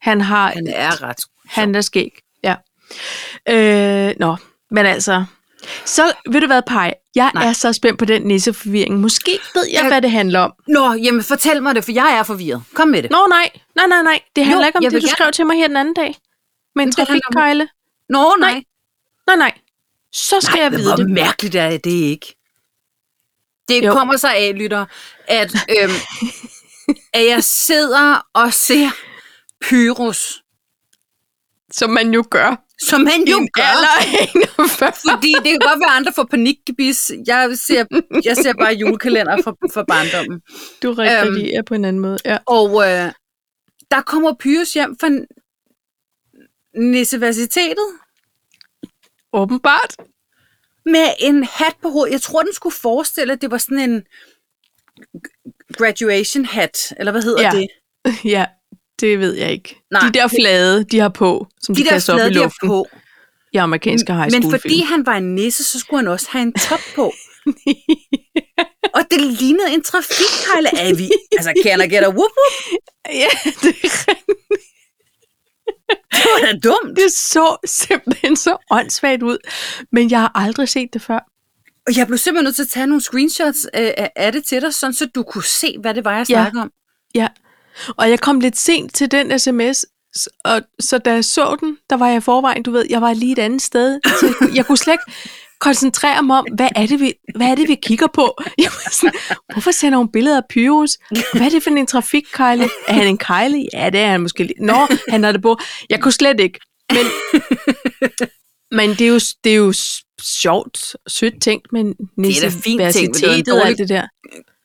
S3: Han har...
S2: Han er ret.
S3: Han er skæg. Ja. Øh, nå, men altså... Så ved du hvad, Paj? Jeg
S2: Nej.
S3: Nej. er så spændt på den nisseforvirring. Måske ved jeg,
S2: Jeg-
S3: hvad det handler om.
S2: Nå, jamen fortæl mig det, for jeg er forvirret. Kom med det.
S3: Nå nej, nej, nej, nej. Det handler
S2: Jo,
S3: jo, ikke om
S2: jeg
S3: det,
S2: vil
S3: du
S2: gerne-
S3: skrev til mig her den anden dag. Med en
S2: det handler om-
S3: trafikkejle.
S2: Nå, nej. nej.
S3: Nej, nej. Så skal nej, jeg
S2: men
S3: vide det.
S2: Hvor mærkeligt er det ikke? Det jo.
S3: Jo.
S2: kommer så af, lytter, at, øhm, at jeg sidder og ser Pyrus,
S3: Som man jo gør.
S2: som man jo
S3: I en
S2: gør.
S3: alder af 41.
S2: Fordi det kan godt være, at andre får panikgebis. Jeg ser, jeg ser bare julekalender fra, fra barndommen.
S3: Du reagerer øhm. på en anden måde. Ja.
S2: Og øh, der kommer Pyrus hjem fra Nissevacitetet
S3: Åbenbart.
S2: med en hat på hovedet. Jeg tror, den skulle forestille, at det var sådan en graduation hat, eller hvad hedder
S3: Ja.
S2: det?
S3: Ja, det ved jeg ikke.
S2: Nej.
S3: Nej. De der flade, de har på, som de,
S2: De
S3: de
S2: der
S3: kaster op
S2: flade,
S3: i
S2: de har
S3: luften
S2: på.
S3: i amerikanske high
S2: Men
S3: school
S2: fordi han var en nisse, så skulle han også have en top på. Og det lignede en trafikkejle. Er vi? Altså, kan I get a whoop whoop?
S3: Ja, det,
S2: Det var da dumt.
S3: det så simpelthen så åndssvagt ud. Men jeg har aldrig set det før.
S2: Og jeg blev simpelthen nødt til at tage nogle screenshots øh, af- af det til dig, sådan så du kunne se, hvad det var, jeg
S3: Ja.
S2: snakker om.
S3: Ja, og jeg kom lidt sent til den sms, s- og så da jeg så den, der var jeg i forvejen, du ved, jeg var lige et andet sted. Så jeg, kunne- jeg kunne slet ikke koncentrere mig om, hvad er det, vi, hvad er det, vi kigger på? Jeg var sådan, hvorfor sender hun billeder af Pyrus? Hvad er det for en trafikkejle? Er han en kejle? Ja, det er han måske. lige. Nå, han har det på. Jeg kunne slet ikke. Men, men det er jo, det er jo s- sjovt, sødt tænkt, men
S2: er da fint tænkt, men det var en
S3: universitetet og
S2: dårlig-
S3: alt det der.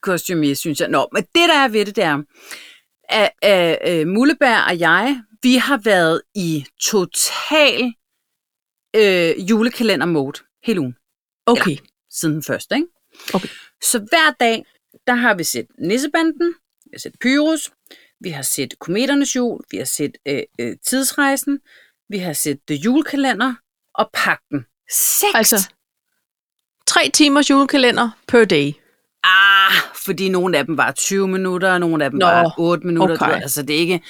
S2: Kostume, synes jeg. Nå, men det der er ved det, det er, at, at, at Mulleberg og jeg, vi har været i total øh, julekalender-mode hele ugen,
S3: Okay,
S2: siden den første, ikke?
S3: Okay.
S2: Så hver dag, der har vi set Nissebanden, vi har set Pyrus, vi har set Kometernes Jul, vi har set øh, øh, Tidsrejsen, vi har set The Julekalender og Pakken. Seks!
S3: altså tre timers julekalender per day.
S2: Ah, fordi nogle af dem var 20 minutter, og nogle af dem Nå,
S3: Nå,
S2: var 8 minutter.
S3: okay.
S2: Okay. Altså, det er ikke...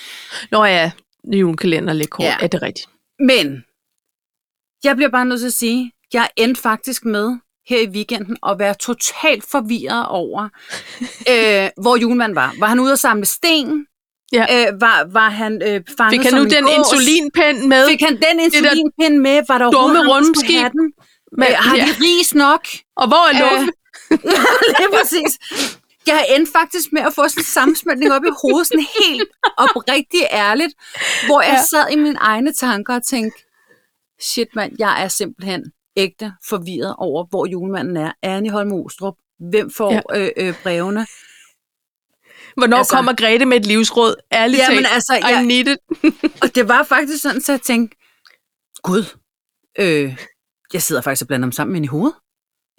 S3: Nå ja, julekalender er lidt kort.
S2: Ja.
S3: Ja. Er det rigtigt?
S2: Men, jeg bliver bare nødt til at sige, jeg endte faktisk med her i weekenden at være totalt forvirret over, øh, hvor julemanden var. Var han ude at samle sten?
S3: Ja.
S2: Øh, var, var han øh, fanget
S3: Fik han
S2: som
S3: nu
S2: en
S3: den
S2: gås?
S3: insulinpen med?
S2: Fik han den
S3: der
S2: insulinpind med? Var der
S3: dumme
S2: overhovedet ham, der
S3: rundskib?
S2: skulle have den?
S3: Men,
S2: Øh, har
S3: ja.
S2: de ris nok?
S3: Og hvor er Luffe?
S2: Lige præcis. Jeg endte faktisk med at få sådan en sammensmeltning op i hovedet, sådan helt oprigtigt ærligt, hvor jeg
S3: Ja.
S2: sad i mine egne tanker og tænkte, shit mand, jeg er simpelthen ægte forvirret over, hvor julemanden er. Er han i Holm Ostrup? Hvem får ja.
S3: Ja.
S2: øh, øh, brevene?
S3: Hvornår
S2: altså-
S3: altså, kommer Grete med et livsråd? Ærligt
S2: Jamen,
S3: talt,
S2: altså,
S3: I
S2: jeg-
S3: need it.
S2: Og det var faktisk sådan, så jeg tænkte, gud, øh, jeg sidder faktisk og blander dem sammen ind i hovedet.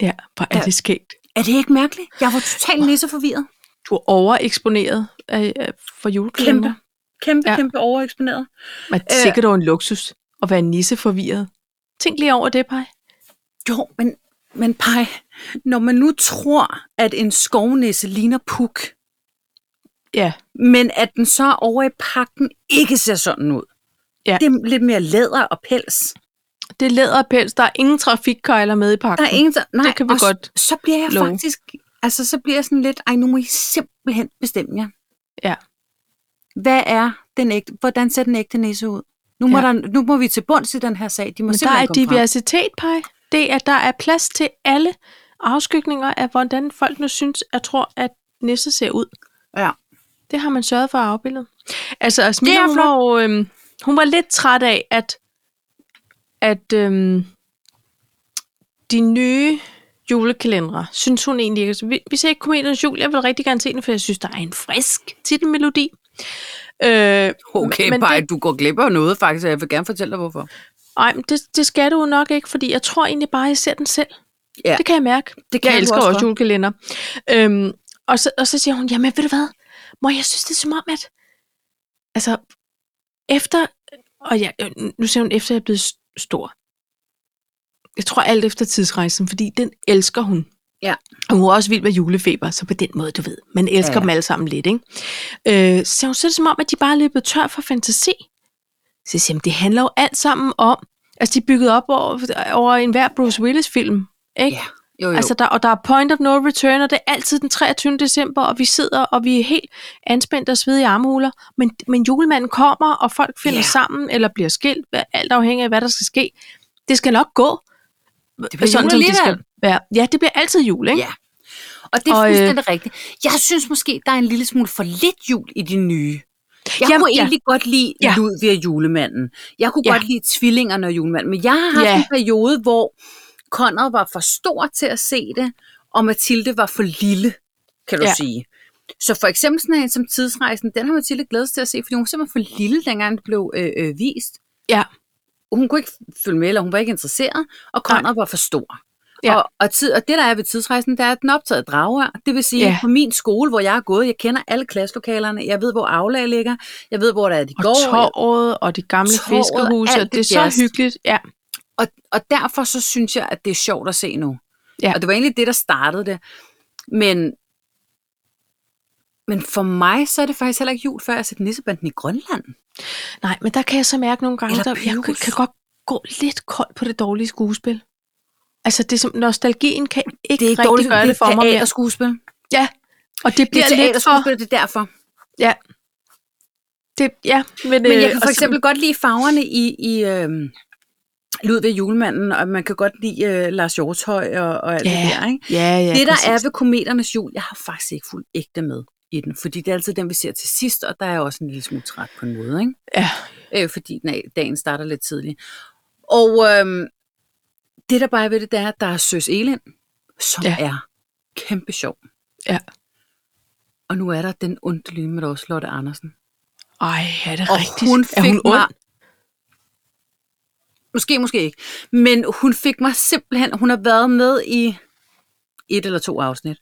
S3: Ja, hvor er
S2: Ja.
S3: det skægt.
S2: Er det ikke mærkeligt? Jeg var totalt nisseforvirret.
S3: Du er overeksponeret af, af- for julekalender.
S2: Kæmpe,
S3: Ja.
S2: kæmpe overeksponeret.
S3: Men
S2: Øh.
S3: sikkert over en luksus at være nisse forvirret. Tænk lige over det, Paj.
S2: Jo, men, men pej, når man nu tror, at en skovnisse ligner puk,
S3: Ja,
S2: men at den så over i pakken ikke ser sådan ud.
S3: Ja.
S2: Det er lidt mere læder og pels.
S3: det er læder og pels. Der er ingen trafikkejler med i pakken.
S2: Der er ingen, der, nej,
S3: det kan vi
S2: og s-
S3: godt
S2: Så bliver jeg
S3: love.
S2: faktisk, altså så bliver jeg sådan lidt, ej, nu må I simpelthen bestemme jer.
S3: Ja.
S2: Hvad er den ægte, hvordan ser den ægte nisse ud? Nu må,
S3: Ja.
S2: ja. der, nu må vi til bunds i den her sag. De må
S3: Men der
S2: simpelthen
S3: er
S2: komme frem.
S3: diversitet, Paj. Det er, at der er plads til alle afskygninger af, hvordan folk nu synes, jeg tror, at Nisse ser ud.
S2: Ja.
S3: Det har man sørget for at afbilde. Altså, Asmina,
S2: Det er
S3: hun var, jo, øhm, hun var lidt træt af, at, at øhm, de nye julekalendere, synes hun egentlig ikke. Altså, vi, vi ser ikke Kometernes Jul, jeg vil rigtig gerne se den, for jeg synes, der er en frisk titelmelodi. Øh,
S2: Okay,
S3: men
S2: men bare,
S3: det-
S2: det... du går glip af noget faktisk, og jeg vil gerne fortælle dig, hvorfor.
S3: Ej, men det, det skal du jo nok ikke, fordi jeg tror egentlig bare, at jeg ser den selv.
S2: Ja.
S3: Det kan jeg mærke.
S2: Det
S3: jeg elsker også, også
S2: du.
S3: julekalender. Øhm, og, så, og så siger hun, jamen ved du hvad, mor, jeg synes det er som om, at altså, efter, og jeg, øh, nu siger hun, efter jeg er blevet s- stor. Jeg tror alt efter tidsrejsen, fordi den elsker hun.
S2: Ja.
S3: Og hun er også vild med julefeber, så på den måde, du ved. Man elsker
S2: Ja, ja.
S3: dem alle sammen lidt, ikke? Øh, så siger hun, så er det som om, at de bare er løbet tør for fantasi. Så jeg siger, jamen, det handler jo alt sammen om, altså de er bygget op over, over enhver Bruce Willis-film, ikke?
S2: Ja, jo, jo.
S3: Altså,
S2: Altså,
S3: der, og der er point of no return, og det er altid den 23. december, og vi sidder, og vi er helt anspændt og svedige i armhuler. Men, men julemanden kommer, og folk finder
S2: Ja.
S3: yeah. sammen, eller bliver skilt, hvad- alt afhængig af, hvad der skal ske. Det skal nok gå. Det
S2: bliver jul alligevel.
S3: være. Ja, det bliver altid jul, ikke?
S2: Ja. og det er
S3: og, øh,
S2: fuldstændig rigtigt. Jeg synes måske, der er en lille smule for lidt jul i de nye. Jeg
S3: Jamen,
S2: Jamen, kunne
S3: ja.
S2: egentlig godt lide
S3: Ja.
S2: ja. Ludvig og julemanden. Jeg kunne
S3: Ja.
S2: ja. godt lide tvillingerne og julemanden. Men jeg har haft
S3: Ja.
S2: ja. en periode, hvor Conrad var for stor til at se det, og Mathilde var for lille, kan du
S3: Ja.
S2: ja. sige. Så for eksempel sådan en som tidsrejsen, den har Mathilde glædet sig til at se, fordi hun var simpelthen for lille, dengang den blev øh, øh, vist.
S3: Ja.
S2: hun kunne ikke følge med, eller hun var ikke interesseret, og Conrad var for stor.
S3: Ja.
S2: Ja. Og, og, tid, og det, der er ved tidsrejsen, der er den optaget drager. Det vil sige,
S3: Ja.
S2: ja. på min skole, hvor jeg er gået, jeg kender alle klasselokalerne, jeg ved, hvor aflag ligger, jeg ved, hvor der er de
S3: Og
S2: går, jeg-
S3: torvet, og de gamle
S2: Torvet,
S3: fiskerhuse,
S2: alt
S3: og det er
S2: det
S3: så
S2: jazz.
S3: hyggeligt. Ja.
S2: og, og derfor så synes jeg, at det er sjovt at se nu.
S3: Ja.
S2: Og det var egentlig det, der startede det. Men, men for mig, så er det faktisk heller ikke jul, før jeg har set Nissebanden i Grønland.
S3: Nej, men der kan jeg så mærke nogle gange,
S2: Eller
S3: der, jeg kan,
S2: Pyrus.
S3: kan godt gå lidt kold på det dårlige skuespil. Altså, det er som, nostalgien kan ikke
S2: Det er ikke
S3: rigtig
S2: dårligt,
S3: gøre det,
S2: det
S3: for mig mere.
S2: teaterskuespil.
S3: Og det
S2: Det
S3: bliver
S2: er
S3: det lidt for...
S2: teaterskuespil, det er derfor.
S3: Det, ja, men,
S2: Men
S3: øh,
S2: jeg kan for
S3: og så-
S2: eksempel godt lide farverne i, i øh, Ludvig Julemanden, og man kan godt lide øh, Lars Hjortøj og, og alt
S3: Ja,
S2: det der. Ikke?
S3: Ja, ja,
S2: Ja, det, der
S3: præcis.
S2: er ved Kometernes Jul, jeg har faktisk ikke fuldt ægte med i den, fordi det er altid den, vi ser til sidst, og der er jeg også en lille smule træt på en måde, ikke?
S3: Ja.
S2: Øh, fordi den er, dagen starter lidt tidligt. Og øh, det, der bare er ved det, det er, at der er Søs Elin, som
S3: Ja.
S2: ja. er kæmpe sjov.
S3: Ja.
S2: Og nu er der den underlige med også Lotte Andersen.
S3: Ej, er det
S2: Og
S3: rigtigt?
S2: hun
S3: er
S2: fik
S3: hun ond?
S2: mig- Måske, måske ikke. Men hun fik mig simpelthen, hun har været med i et eller to afsnit.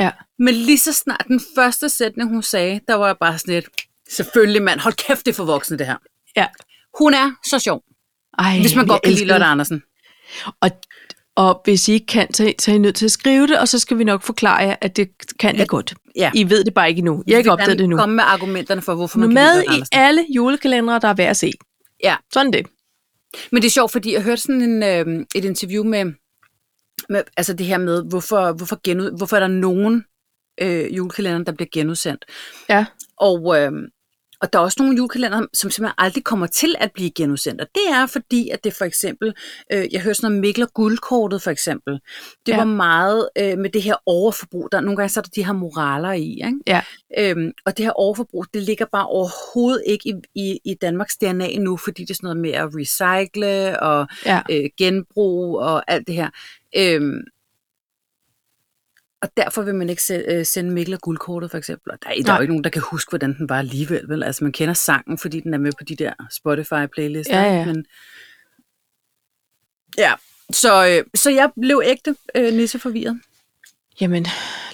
S3: Ja.
S2: Men lige så snart den første sætning, hun sagde, der var jeg bare sådan lidt, selvfølgelig mand, hold kæft, det er for voksne det her.
S3: Ja.
S2: Hun er så sjov,
S3: Ej,
S2: hvis man
S3: jeg
S2: godt kan lide
S3: elsker
S2: Lotte
S3: det.
S2: Andersen.
S3: Og, og hvis I ikke kan, så, så er I nødt til at skrive det, og så skal vi nok forklare jer, at det kan I godt.
S2: ja.
S3: I ved det bare ikke endnu. Jeg har ikke opdaget det endnu.
S2: Komme med argumenterne for, hvorfor
S3: Nu
S2: man
S3: er
S2: kan
S3: med
S2: lide Lotte
S3: i
S2: Andersen.
S3: alle julekalendere, der er værd at se.
S2: Ja.
S3: Sådan det.
S2: Men det er sjovt, fordi jeg hørte sådan en, øh, et interview med, med, altså det her med, hvorfor, hvorfor, genu, hvorfor er der nogen øh, julekalender, der bliver genudsendt.
S3: Ja.
S2: Og, øh, og der er også nogle julekalender, som simpelthen aldrig kommer til at blive genudsendt. Og det er fordi, at det for eksempel, øh, jeg hører sådan noget Mikkel og Guldkortet for eksempel. Det
S3: Ja.
S2: ja. var meget øh, med det her overforbrug. Der, nogle gange så er der de her moraler i, ikke?
S3: Ja.
S2: Øhm, og det her overforbrug, det ligger bare overhovedet ikke i, i, i Danmarks DNA nu, fordi det er sådan noget med at recycle og
S3: Ja.
S2: øh, genbrug og alt det her. Øhm, og derfor vil man ikke se, øh, sende Mikkel og guldkortet, for eksempel. Og der, er- der er
S3: Nej.
S2: jo ikke nogen, der kan huske, hvordan den var alligevel. Vel? Altså, man kender sangen, fordi den er med på de der Spotify-playlister.
S3: Ja, ja.
S2: ikke? Men, ja. Så, øh, så jeg blev ægte øh, nisseforvirret.
S3: Jamen,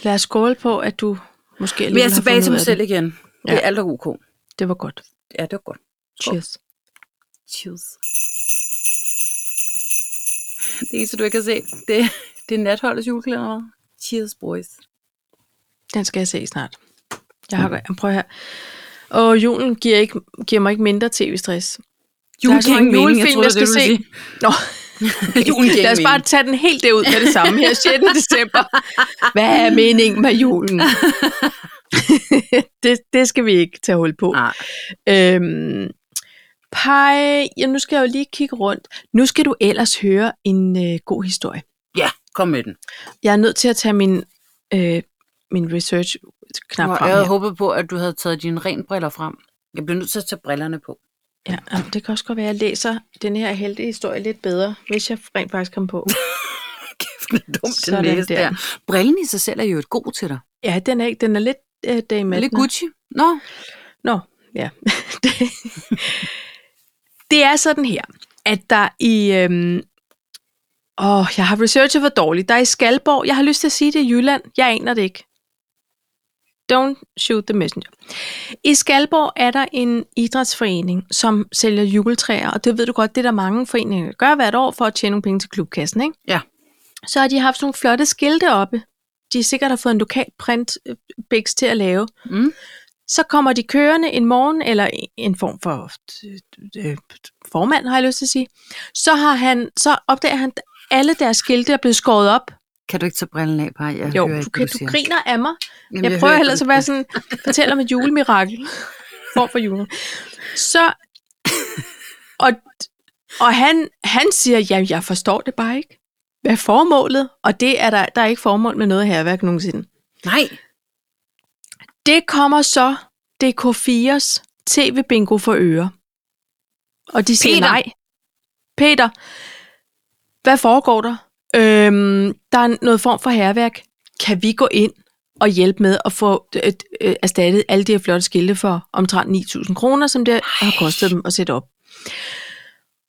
S3: lad os skåle på, at du måske
S2: Men jeg
S3: alligevel
S2: er
S3: har
S2: tilbage
S3: fundet
S2: til
S3: ud
S2: mig
S3: af
S2: selv
S3: Det.
S2: igen. Ja.
S3: Ja.
S2: Det er alt er ok.
S3: det var godt.
S2: Ja, det var godt.
S3: Cheers.
S2: Cheers. Det eneste, du ikke har set, det, det er natholdets julekalender. hva'? Cheers, boys.
S3: Den skal jeg se snart. Jeg har mm. prøv her. Og julen giver, ikke, giver mig ikke mindre tv-stress.
S2: Julen
S3: Der er så
S2: giver ingen
S3: mange
S2: mening, jeg
S3: julefilm,
S2: troede, det var det, du
S3: Nå,
S2: Julen giver
S3: Lad os
S2: ingen
S3: bare tage den helt derud med det samme her 6. december. Hvad er meningen med julen? det, det skal vi ikke tage hul på.
S2: Nej.
S3: Øhm, pege. Ja, nu skal jeg jo lige kigge rundt. Nu skal du ellers høre en øh, god historie.
S2: Ja, kom med den.
S3: Jeg er nødt til at tage min, øh, min research-knap
S2: Nå,
S3: frem
S2: jeg havde
S3: her.
S2: håbet på, at du havde taget dine renbriller frem. Jeg bliver nødt til at tage brillerne på.
S3: Ja, jamen, det kan også godt være, at jeg læser den her heldige historie lidt bedre, hvis jeg rent faktisk kommer på.
S2: Kæft, det er dumt den
S3: Sådan
S2: næse
S3: der.
S2: der. Brillen i sig selv er jo et god til dig.
S3: Ja, den er, ikke, den er lidt øh, dame.
S2: Lidt Gucci. Nå,
S3: Nå, ja. det, det er sådan her, at der i... Øhm, åh, jeg har researchet for dårligt. Der er i Skalborg. Jeg har lyst til at sige det i Jylland. Jeg aner det ikke. Don't shoot the messenger. I Skalborg er der en idrætsforening, som sælger juletræer, og det ved du godt, det er der mange foreninger, der gør hvert år for at tjene nogle penge til klubkassen, ikke?
S2: Ja.
S3: Så har de haft sådan nogle flotte skilte oppe. De er sikkert har fået en lokal printbiks til at lave.
S2: Mm.
S3: Så kommer de kørende en morgen, eller en form for øh, øh, formand, har jeg lyst til at sige. Så, har han, så opdager han, at alle deres skilte er blevet skåret op.
S2: kan du ikke tage brillen af, Paj? Jeg
S3: Jo,
S2: hører ikke,
S3: du, kan,
S2: hvad
S3: du
S2: siger.
S3: griner af mig.
S2: Jamen,
S3: Jeg, jeg prøver
S2: hører
S3: ellers
S2: ikke,
S3: at
S2: hvad
S3: være
S2: du siger.
S3: sådan, fortæl om et julemirakel. Form for julen. Så, og, og han, han siger, jamen jeg forstår det bare ikke. Hvad er formålet? Og det er der, der er ikke formål med noget herværk nogensinde.
S2: Nej,
S3: Det kommer så DK4's tv-bingo for øre. Og de siger
S2: Peter.
S3: nej. Peter, hvad foregår der? Øhm, der er noget form for herværk. Kan vi gå ind og hjælpe med at få øh, øh, erstattet alle de her flotte skilte for omtrent 9.000 kroner, som det har kostet dem at sætte op?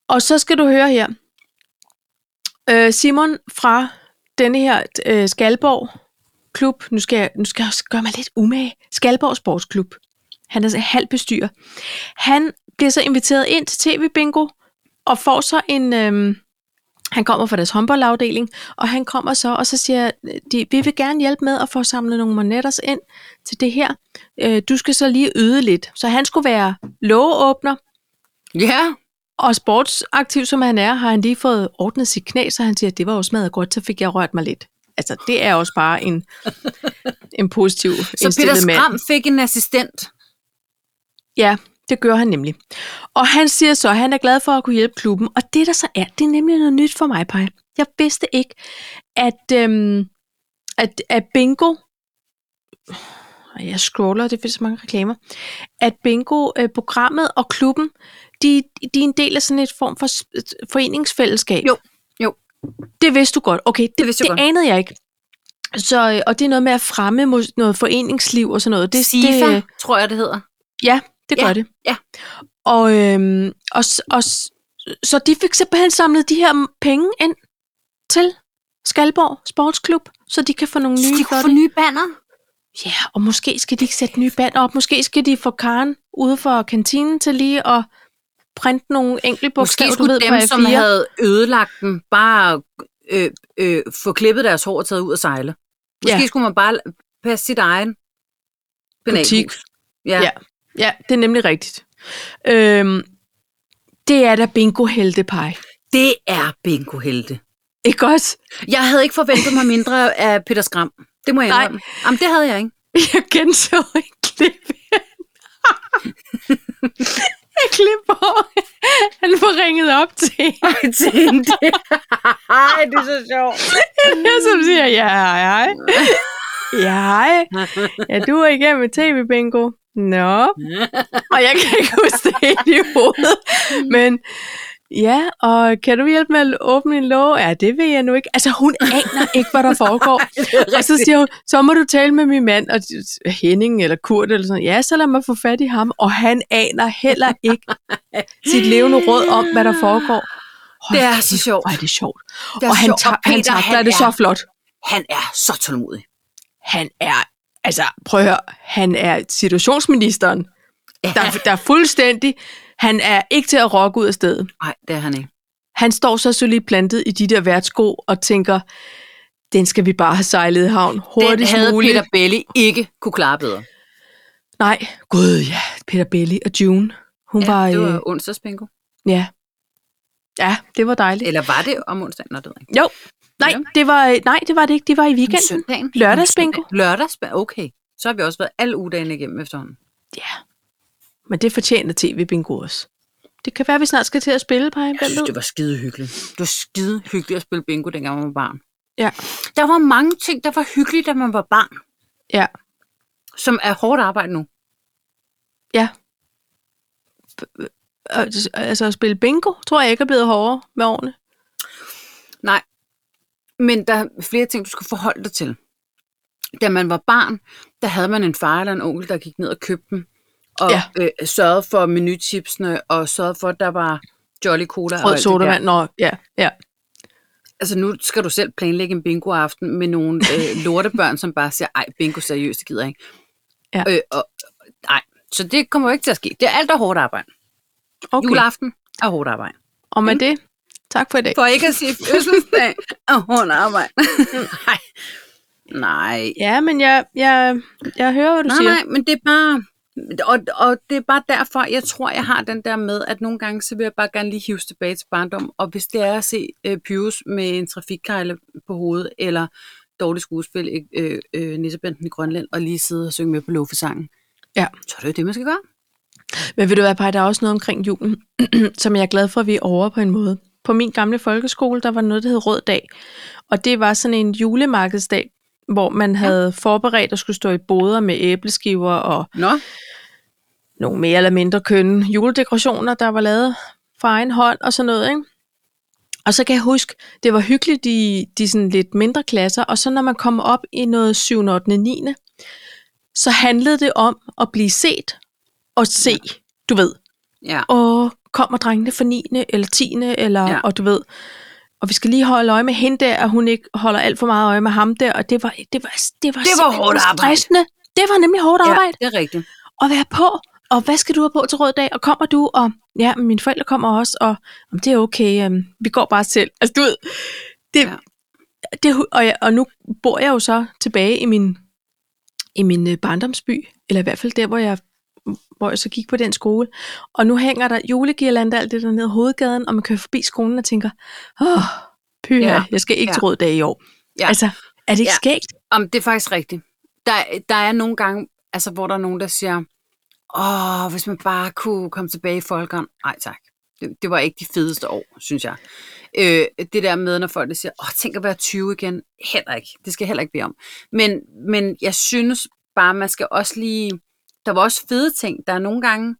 S3: Og så skal du høre her. Øh, Simon fra denne her øh, Skalborg klub, nu skal, jeg, nu skal jeg også gøre mig lidt umage, Skalborg Sportsklub. Han er så halv bestyrer. Han bliver så inviteret ind til TV Bingo, og får så en... Øhm, han kommer fra deres håndboldafdeling, og han kommer så, og så siger de, vi vil gerne hjælpe med at få samlet nogle monetters ind til det her. Øh, du skal så lige yde lidt. Så han skulle være lågeåbner,
S2: ja.
S3: og sportsaktiv som han er, har han lige fået ordnet sit knæ, så han siger, at det var jo smadret godt, så fik jeg rørt mig lidt. Altså, det er også bare en, en positiv
S2: Så Peter
S3: indstillet mand.
S2: Skram fik en assistent.
S3: Ja, det gør han nemlig. Og han siger så, at han er glad for at kunne hjælpe klubben. Og det, der så er, det er nemlig noget nyt for mig, Paj. Jeg vidste ikke, at, øhm, at, at bingo... Ej, Jeg scroller, det findes så mange reklamer. At bingo-programmet og klubben, de, de er en del af sådan et form for s- et foreningsfællesskab.
S2: Jo, jo.
S3: Det vidste du godt. Okay, det, det,
S2: vidste
S3: det
S2: jeg godt.
S3: anede jeg ikke. Så, øh, og det er noget med at fremme mod noget foreningsliv og sådan noget. Det,
S2: Sifa,
S3: det,
S2: tror jeg, det hedder.
S3: Ja, det
S2: Ja,
S3: gør det.
S2: ja.
S3: Og, øhm, og, s- og s- så de fik simpelthen samlet de her m- penge ind til Skalborg Sportsklub, så de kan få nogle
S2: Så
S3: nye
S2: de kunne
S3: flotte-
S2: få nye banner.
S3: Ja, og måske skal de ikke sætte nye band op. Måske skal de få Karen ude for kantinen til lige at printe nogle enkelte
S2: Måske
S3: bogstaver, du
S2: skulle
S3: ved,
S2: dem,
S3: på
S2: som
S3: A4.
S2: havde ødelagt den, bare øh, øh, få klippet deres hår og taget ud og sejle. Måske
S3: Ja.
S2: skulle man bare passe sit egen
S3: Butik.
S2: penalhus. Ja.
S3: Ja. Ja, det er nemlig rigtigt. Øhm, det er da bingo heltepej.
S2: Det er bingo-helte.
S3: Ikke også?
S2: Jeg havde ikke forventet mig mindre af Peter Skram. Det må jeg
S3: Nej.
S2: indrømme. Jamen, det havde jeg ikke.
S3: Jeg genså et klip. et klip, hvor han får ringet op til en,
S2: Jeg tænkte, Ej, det er så sjovt.
S3: som siger, ja, hej, hej. Ja, hej. Ja, du er igennem med tv-bingo. Nå. Og jeg kan ikke huske det helt i hovedet. Men ja, og kan du hjælpe med at åbne en låge? Ja, det vil jeg nu ikke. Altså, hun aner ikke, hvad der foregår. Og så siger hun, så må du tale med min mand, og Henning eller Kurt eller sådan noget. Ja, så lad mig få fat i ham. Og han aner heller ikke sit levende råd om, hvad der foregår. Hold
S2: Det er så
S3: kæft,
S2: sjovt.
S3: Hvor er det sjovt.
S2: Det er
S3: og han,
S2: sjovt, og
S3: ta- han
S2: Peter,
S3: takler
S2: han
S3: det
S2: er-
S3: så flot.
S2: Han er så tålmodig.
S3: Han er, altså prøv at høre, han er situationsministeren. Der, der er fuldstændig, han er ikke til at rokke ud af stedet.
S2: Nej, det er han ikke.
S3: Han står så solidt plantet i de der værtsko og tænker, den skal vi bare have sejlet i havn
S2: Den
S3: hurtigst
S2: havde
S3: muligt.
S2: Peter Belli ikke kunne klare bedre.
S3: Nej, gud ja, Peter Belli og June. Hun ja, var,
S2: det var
S3: øh,
S2: onsdagsbingo.
S3: ja. ja, det var dejligt.
S2: Eller var det om onsdagen? Nå, det ved jeg ikke.
S3: Jo, nej,
S2: Ja.
S3: det var, nej, det var det ikke. Det var i
S2: Om
S3: weekenden.
S2: Søndagen?
S3: Lørdagsbingo.
S2: Om søndagen. Lørdagsbingo, okay. Så har vi også været alle ugedagene igennem efterhånden.
S3: Ja, men det fortjener tv-bingo også. Det kan være, at vi snart skal til at spille, Paj.
S2: Jeg
S3: Hvem
S2: synes,
S3: ved?
S2: det var skide hyggeligt. Det var skide hyggeligt at spille bingo, dengang man var barn.
S3: Ja.
S2: Der var mange ting, der var hyggeligt, da man var barn,
S3: Ja.
S2: som er hårdt arbejde nu.
S3: Og- Altså at spille bingo, tror jeg ikke er blevet hårdere med årene.
S2: Nej. Men der er flere ting, du skal forholde dig til. Da man var barn, der havde man en far eller en onkel, der gik ned og købte dem. Og
S3: Ja.
S2: ja. øh, sørgede for menutipsene, og sørgede for, at der var Jolly Cola og
S3: Rød
S2: alt det der.
S3: sodavand. Nå, ja, ja.
S2: Altså nu skal du selv planlægge en bingoaften med nogle øh, lortebørn, som bare siger, ej, bingo seriøst, det gider jeg ikke.
S3: Ja.
S2: Øh, og, nej, så det kommer jo ikke til at ske. Det er alt er hårdt arbejde. Okay.
S3: Okay.
S2: Juleaften er hårdt arbejde.
S3: Og med det, tak for i dag.
S2: For ikke at sige fødselsdag er hårdt arbejde. nej. Nej.
S3: Ja, men jeg, jeg, jeg hører, hvad du
S2: Nej,
S3: siger.
S2: nej, men det er bare... Og, og det er bare derfor, jeg tror, jeg har den der med, at nogle gange, så vil jeg bare gerne lige hives tilbage til barndom. Og hvis det er at se øh, Pyrus med en trafikkejle på hovedet, eller dårligt skuespil, øh, øh, Nissebanden i Grønland, og lige sidde og synge med på loffesangen.
S3: Ja.
S2: Så er det jo det, man skal gøre.
S3: Men ved du hvad, Paj, der er også noget omkring julen, som jeg er glad for, at vi er over på en måde. På min gamle folkeskole, der var noget, der hed Rød Dag. Og det var sådan en julemarkedsdag, hvor man havde forberedt at skulle stå i boder med æbleskiver og
S2: Nå,
S3: nogle mere eller mindre kønne juledekorationer, der var lavet fra egen hånd og sådan noget, ikke? Og så kan jeg huske, det var hyggeligt i de sådan lidt mindre klasser, og så når man kom op i noget 7. 8. 9. Så handlede det om at blive set og se, du ved
S2: ja.
S3: og kommer drengene fra 9. eller 10. eller, ja.
S2: Ja.
S3: og du ved, og vi skal lige holde øje med hende der, og hun ikke holder alt for meget øje med ham der, og det var, det var, det var,
S2: Det var
S3: simpelthen
S2: hårdt arbejde.
S3: stressende. Det var nemlig hårdt
S2: ja,
S3: arbejde
S2: det er rigtigt.
S3: at være på, og hvad skal du have på til rød dag, og kommer du, og ja, men mine forældre kommer også, og om det er okay, øhm, vi går bare selv. Altså du ved, det,
S2: Ja.
S3: det og, jeg, og nu bor jeg jo så tilbage i min, i min øh, barndomsby, eller i hvert fald der, hvor jeg, hvor jeg så gik på den skole, og nu hænger der julegirlander alt det der nede ad hovedgaden, og man kører forbi skolen og tænker, åh, pyha, ja.
S2: Ja.
S3: jeg skal ikke ja.
S2: Ja.
S3: til rød dag i år. Ja.
S2: Ja.
S3: Altså, er det ikke ja.
S2: Ja.
S3: skægt?
S2: Om det er faktisk rigtigt. Der, der er nogle gange, altså, hvor der er nogen, der siger, åh, hvis man bare kunne komme tilbage i folkeren. Nej tak. Det, det var ikke de fedeste år, synes jeg. Øh, det der med, når folk der siger, åh, tænk at være 20 igen. Heller ikke. Det skal jeg heller ikke blive om. Men, men jeg synes bare, man skal også lige... Der var også fede ting. Der er nogle gange,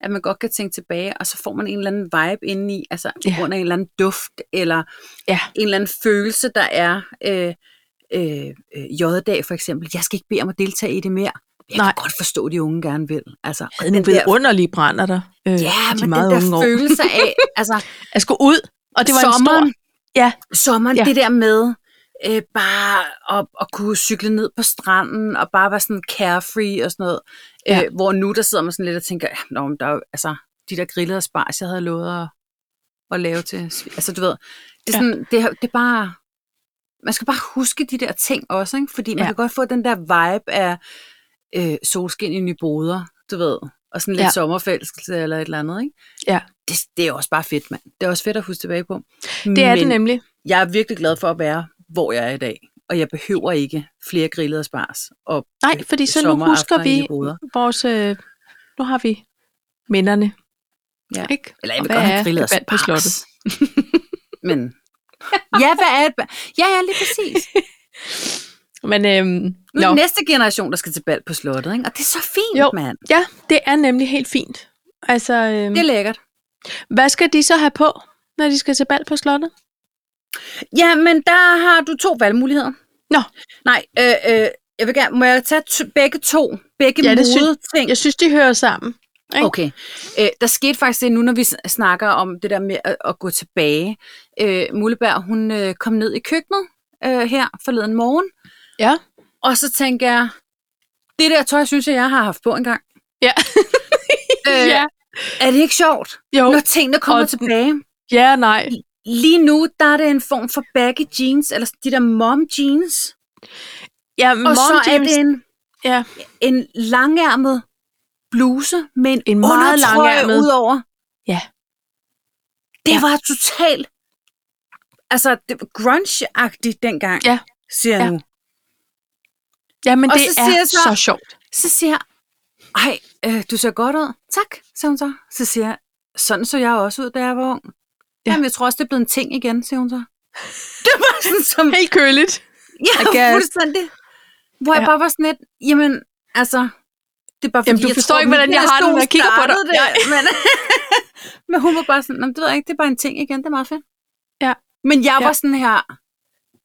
S2: at man godt kan tænke tilbage, og så får man en eller anden vibe indeni, altså
S3: Ja.
S2: ja. under en eller anden duft, eller
S3: Ja.
S2: en eller anden følelse, der er... Øh, øh, øh, J-dag for eksempel, jeg skal ikke bede om at deltage i det mere. Jeg
S3: Nej.
S2: Nej. kan godt forstå, at de unge gerne vil. Altså, og
S3: Den, den
S2: der,
S3: vidunderlige brænder der. Øh,
S2: ja,
S3: i de
S2: men
S3: meget
S2: den
S3: unge
S2: der
S3: år.
S2: følelse af, altså,
S3: Jeg skulle ud, og det var
S2: sommeren,
S3: en stor... Ja.
S2: sommeren
S3: Ja.
S2: ja. det der med øh, bare at, at kunne cykle ned på stranden og bare være sådan carefree og sådan noget.
S3: Ja.
S2: Ja. Øh, hvor nu der sidder man sådan lidt og tænker, ja, nå, men der er jo, altså, de der grillede spars, jeg havde lovet at, at lave til. sv- Altså du ved, det er,
S3: Ja.
S2: sådan, det, er- det er bare, man skal bare huske de der ting også, ikke? fordi man
S3: Ja.
S2: ja. kan godt få den der vibe af øh, solskin i nye boder, du ved, og sådan lidt
S3: Ja.
S2: ja. sommerforelskelse eller et eller andet. Ikke?
S3: Ja.
S2: Det, det er også bare fedt, mand. Det er også fedt at huske tilbage på.
S3: Det er
S2: Men-
S3: det nemlig.
S2: jeg er virkelig glad for at være, hvor jeg er i dag. Og jeg behøver ikke flere grillede spars. Og
S3: Nej, fordi så nu husker vi vores... Øh, nu har vi minderne.
S2: Ja.
S3: Ikke?
S2: Eller jeg
S3: Og
S2: vil
S3: hvad
S2: godt
S3: er
S2: have grillede
S3: vand på slottet?
S2: spars. Men... Ja, hvad er et ba- Ja, ja, lige præcis.
S3: Men øhm,
S2: Nu er
S3: nå.
S2: den næste generation, der skal til bal på slottet, ikke? Og det er så fint,
S3: Jo.
S2: mand.
S3: ja, det er nemlig helt fint. Altså, øhm,
S2: Det er lækkert.
S3: hvad skal de så have på, når de skal til bal på slottet?
S2: Ja, men der har du to valgmuligheder.
S3: Nå.
S2: Nej, øh, øh, jeg vil gerne... Må jeg tage t- begge to? Begge
S3: Ja,
S2: ja,
S3: det synes-
S2: ting?
S3: Jeg synes, de hører sammen. Ikke?
S2: Okay. Øh, der skete faktisk det nu, når vi s- snakker om det der med at, at gå tilbage. Øh, Mulleberg, hun øh, kom ned i køkkenet øh, her forleden morgen,
S3: Ja.
S2: og så tænker jeg, det der tøj, synes jeg, jeg har haft på engang.
S3: Ja.
S2: øh,
S3: ja.
S2: Er det ikke sjovt,
S3: Jo.
S2: når tingene kommer
S3: Og-
S2: og tilbage?
S3: Ja, nej.
S2: Lige nu, der er det en form for baggy jeans, eller de der mom jeans.
S3: Ja,
S2: Og så er det en,
S3: Ja.
S2: en langærmet bluse med en,
S3: En meget
S2: undertrøje
S3: langærmet.
S2: ud over.
S3: Ja.
S2: Det
S3: Ja.
S2: ja. var totalt altså det var grunge-agtigt dengang,
S3: Ja.
S2: siger jeg
S3: Ja.
S2: ja. nu.
S3: Ja, men
S2: Og
S3: det
S2: så
S3: er
S2: siger jeg
S3: så,
S2: så-
S3: så sjovt.
S2: Så siger jeg, ej, øh, du ser godt ud. Tak, siger hun så. Så siger jeg, sådan så jeg også ud, da jeg var ung. Ja. Jamen, jeg tror også, det er blevet en ting igen, siger hun så. Det var sådan som...
S3: Helt køligt.
S2: Ja,
S3: guess.
S2: fuldstændig. Hvor ja. jeg
S3: Ja.
S2: bare var sådan lidt, jamen, altså... Det er bare, fordi,
S3: Jamen, du
S2: jeg
S3: forstår
S2: tror,
S3: ikke, hvordan
S2: min
S3: jeg har det, når jeg
S2: generation
S3: kigger på dig.
S2: startede Det, men, men hun var bare sådan, "Nå, men det ved jeg ikke, det er bare en ting igen, det er meget fedt.
S3: Ja.
S2: Men jeg
S3: Ja.
S2: var sådan her,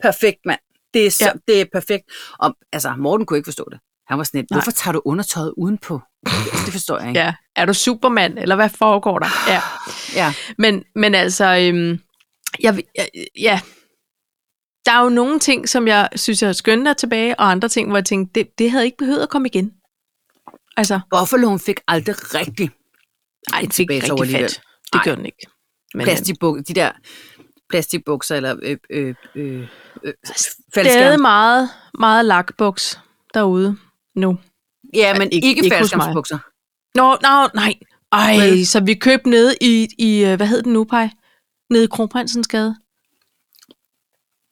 S2: perfekt mand, det er, så,
S3: Ja.
S2: ja. det er perfekt. Og, altså, Morten kunne ikke forstå det. Han var sådan lidt,
S3: Nej.
S2: hvorfor tager du undertøjet udenpå? Altså, Det forstår jeg ikke.
S3: Ja. Er du Superman, eller hvad foregår der? Ja.
S2: ja.
S3: Men, men altså, øhm, jeg, jeg, ja. Der er jo nogle ting, som jeg synes, jeg har skønt der tilbage, og andre ting, hvor jeg tænkte, det, det havde ikke behøvet at komme igen. Altså,
S2: Buffaloen fik aldrig rigtig
S3: ej,
S2: Et
S3: det fik
S2: tilbagetog
S3: rigtig
S2: alligevel.
S3: fat. Det
S2: Ej.
S3: gjorde den ikke. Men, øh,
S2: plastikbuk, de der plastikbukser eller øh, øh, øh, øh,
S3: stadig
S2: faldskærm.
S3: meget, meget lakbuks derude nu.
S2: Ja, men ikke,
S3: ikke-
S2: ikke
S3: ikke hos mig.
S2: faldskærmsbukser.
S3: Nå, nå, nej. Ej,
S2: Vel.
S3: så vi købte nede i, i øh, hvad hed den nu, Paj? Nede i Kronprinsens Gade.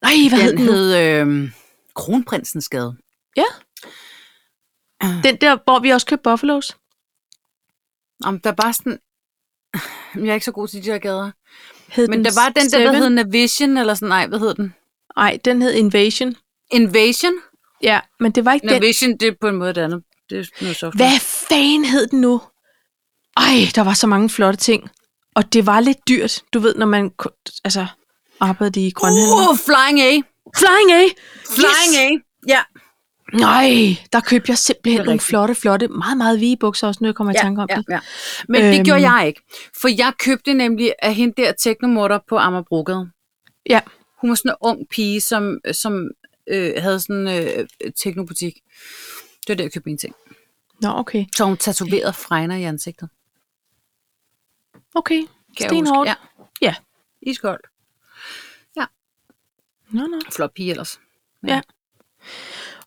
S3: Nej, hvad hed
S2: Den
S3: den nu?
S2: hed øh, Kronprinsens Gade.
S3: Den der, hvor vi også købte Buffaloes.
S2: Om der var sådan... Jeg er ikke så god til de der gader.
S3: Hed
S2: Men
S3: den
S2: der var den der, der
S3: Seven?
S2: hed Navision, eller sådan, nej, hvad hed den?
S3: Nej, den hed Invasion.
S2: Invasion?
S3: Ja, men det var ikke den.
S2: Navision, det er på en måde det andet. Det er noget soft.
S3: Hvad fanden hed den nu? Ej, der var så mange flotte ting. Og det var lidt dyrt, du ved, når man ku- altså, arbejdede i Grønland. Uh!
S2: Uh, Flying A!
S3: Flying A!
S2: Flying A! Ja.
S3: Nej, der købte jeg
S2: Det
S3: simpelthen
S2: er
S3: nogle
S2: rigtigt.
S3: flotte, flotte, meget, meget vige bukser også, nu jeg kommer i tanke om
S2: ja,
S3: det.
S2: ja. Men øhm. det
S3: Øhm.
S2: gjorde jeg ikke. For jeg købte nemlig af hende der teknomorder på Amagerbrogade.
S3: Ja.
S2: Hun var sådan en ung pige, som, som øh, havde sådan en øh, teknobutik. Det var der, jeg købte mine ting.
S3: Nå, okay.
S2: Så hun tatoverede fregner i ansigtet.
S3: Okay.
S2: Kan
S3: Stenhårdt.
S2: Jeg huske. Ja.
S3: Ja.
S2: Iskoldt.
S3: Nå, nå.
S2: Flot pige ellers.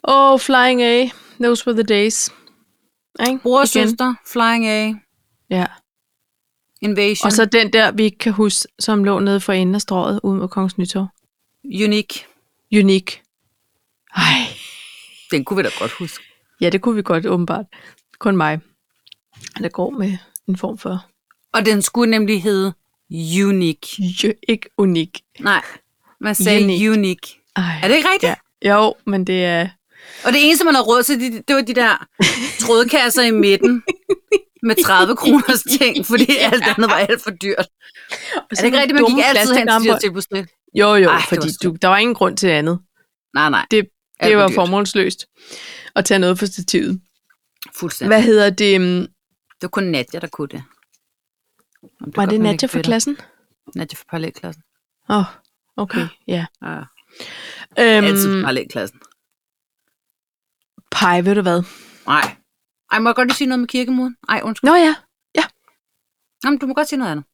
S3: Oh, Flying A. Those were the days. Ikke?
S2: Bror og
S3: Igen.
S2: søster, Flying A,
S3: Ja.
S2: Invasion,
S3: Og så den der, vi ikke kan huske, som lå nede for enden af strået ude mod Kongens Nytorv.
S2: Unique.
S3: Unique. Ej.
S2: Den kunne vi da godt huske.
S3: Ja, det kunne vi godt, åbenbart. Kun mig, der går med en form for
S2: Og den skulle nemlig hedde Unique.
S3: jø- ikke unik.
S2: Nej, man sagde
S3: Unique.
S2: Unique. Unique.
S3: Ej.
S2: Er det ikke rigtigt?
S3: Ja. Jo, men det er...
S2: Og det eneste, man har råd til, det, det var de der trådkasser i midten med 30 kroners ting, fordi alt andet var alt for dyrt. Altså, Er det ikke rigtigt, man gik altid hen til de der tilbudsne?
S3: Jo, jo,
S2: Ej,
S3: Ej,
S2: det
S3: fordi
S2: var
S3: du,
S2: synd.
S3: der var ingen grund til andet.
S2: Nej, nej,
S3: Det,
S2: Alt
S3: det
S2: var
S3: var
S2: dyrt.
S3: formålsløst at tage noget for stativet.
S2: fuldstændig.
S3: Hvad hedder det? øhm,
S2: Det var kun Nadja, der kunne det. Jamen, er
S3: Var
S2: godt,
S3: det
S2: man
S3: Nadja
S2: ikke
S3: fra
S2: ved det.
S3: klassen?
S2: Nadja fra parallelklassen.
S3: Åh, oh, okay, ja.
S2: Ja, altid fra
S3: Øhm,
S2: parallelklassen.
S3: Pej, ved du hvad?
S2: Nej. Ej, må jeg godt lige sige noget med kirkemuren? Ej, undskyld.
S3: Nå ja.
S2: Jamen, du må godt sige noget andet.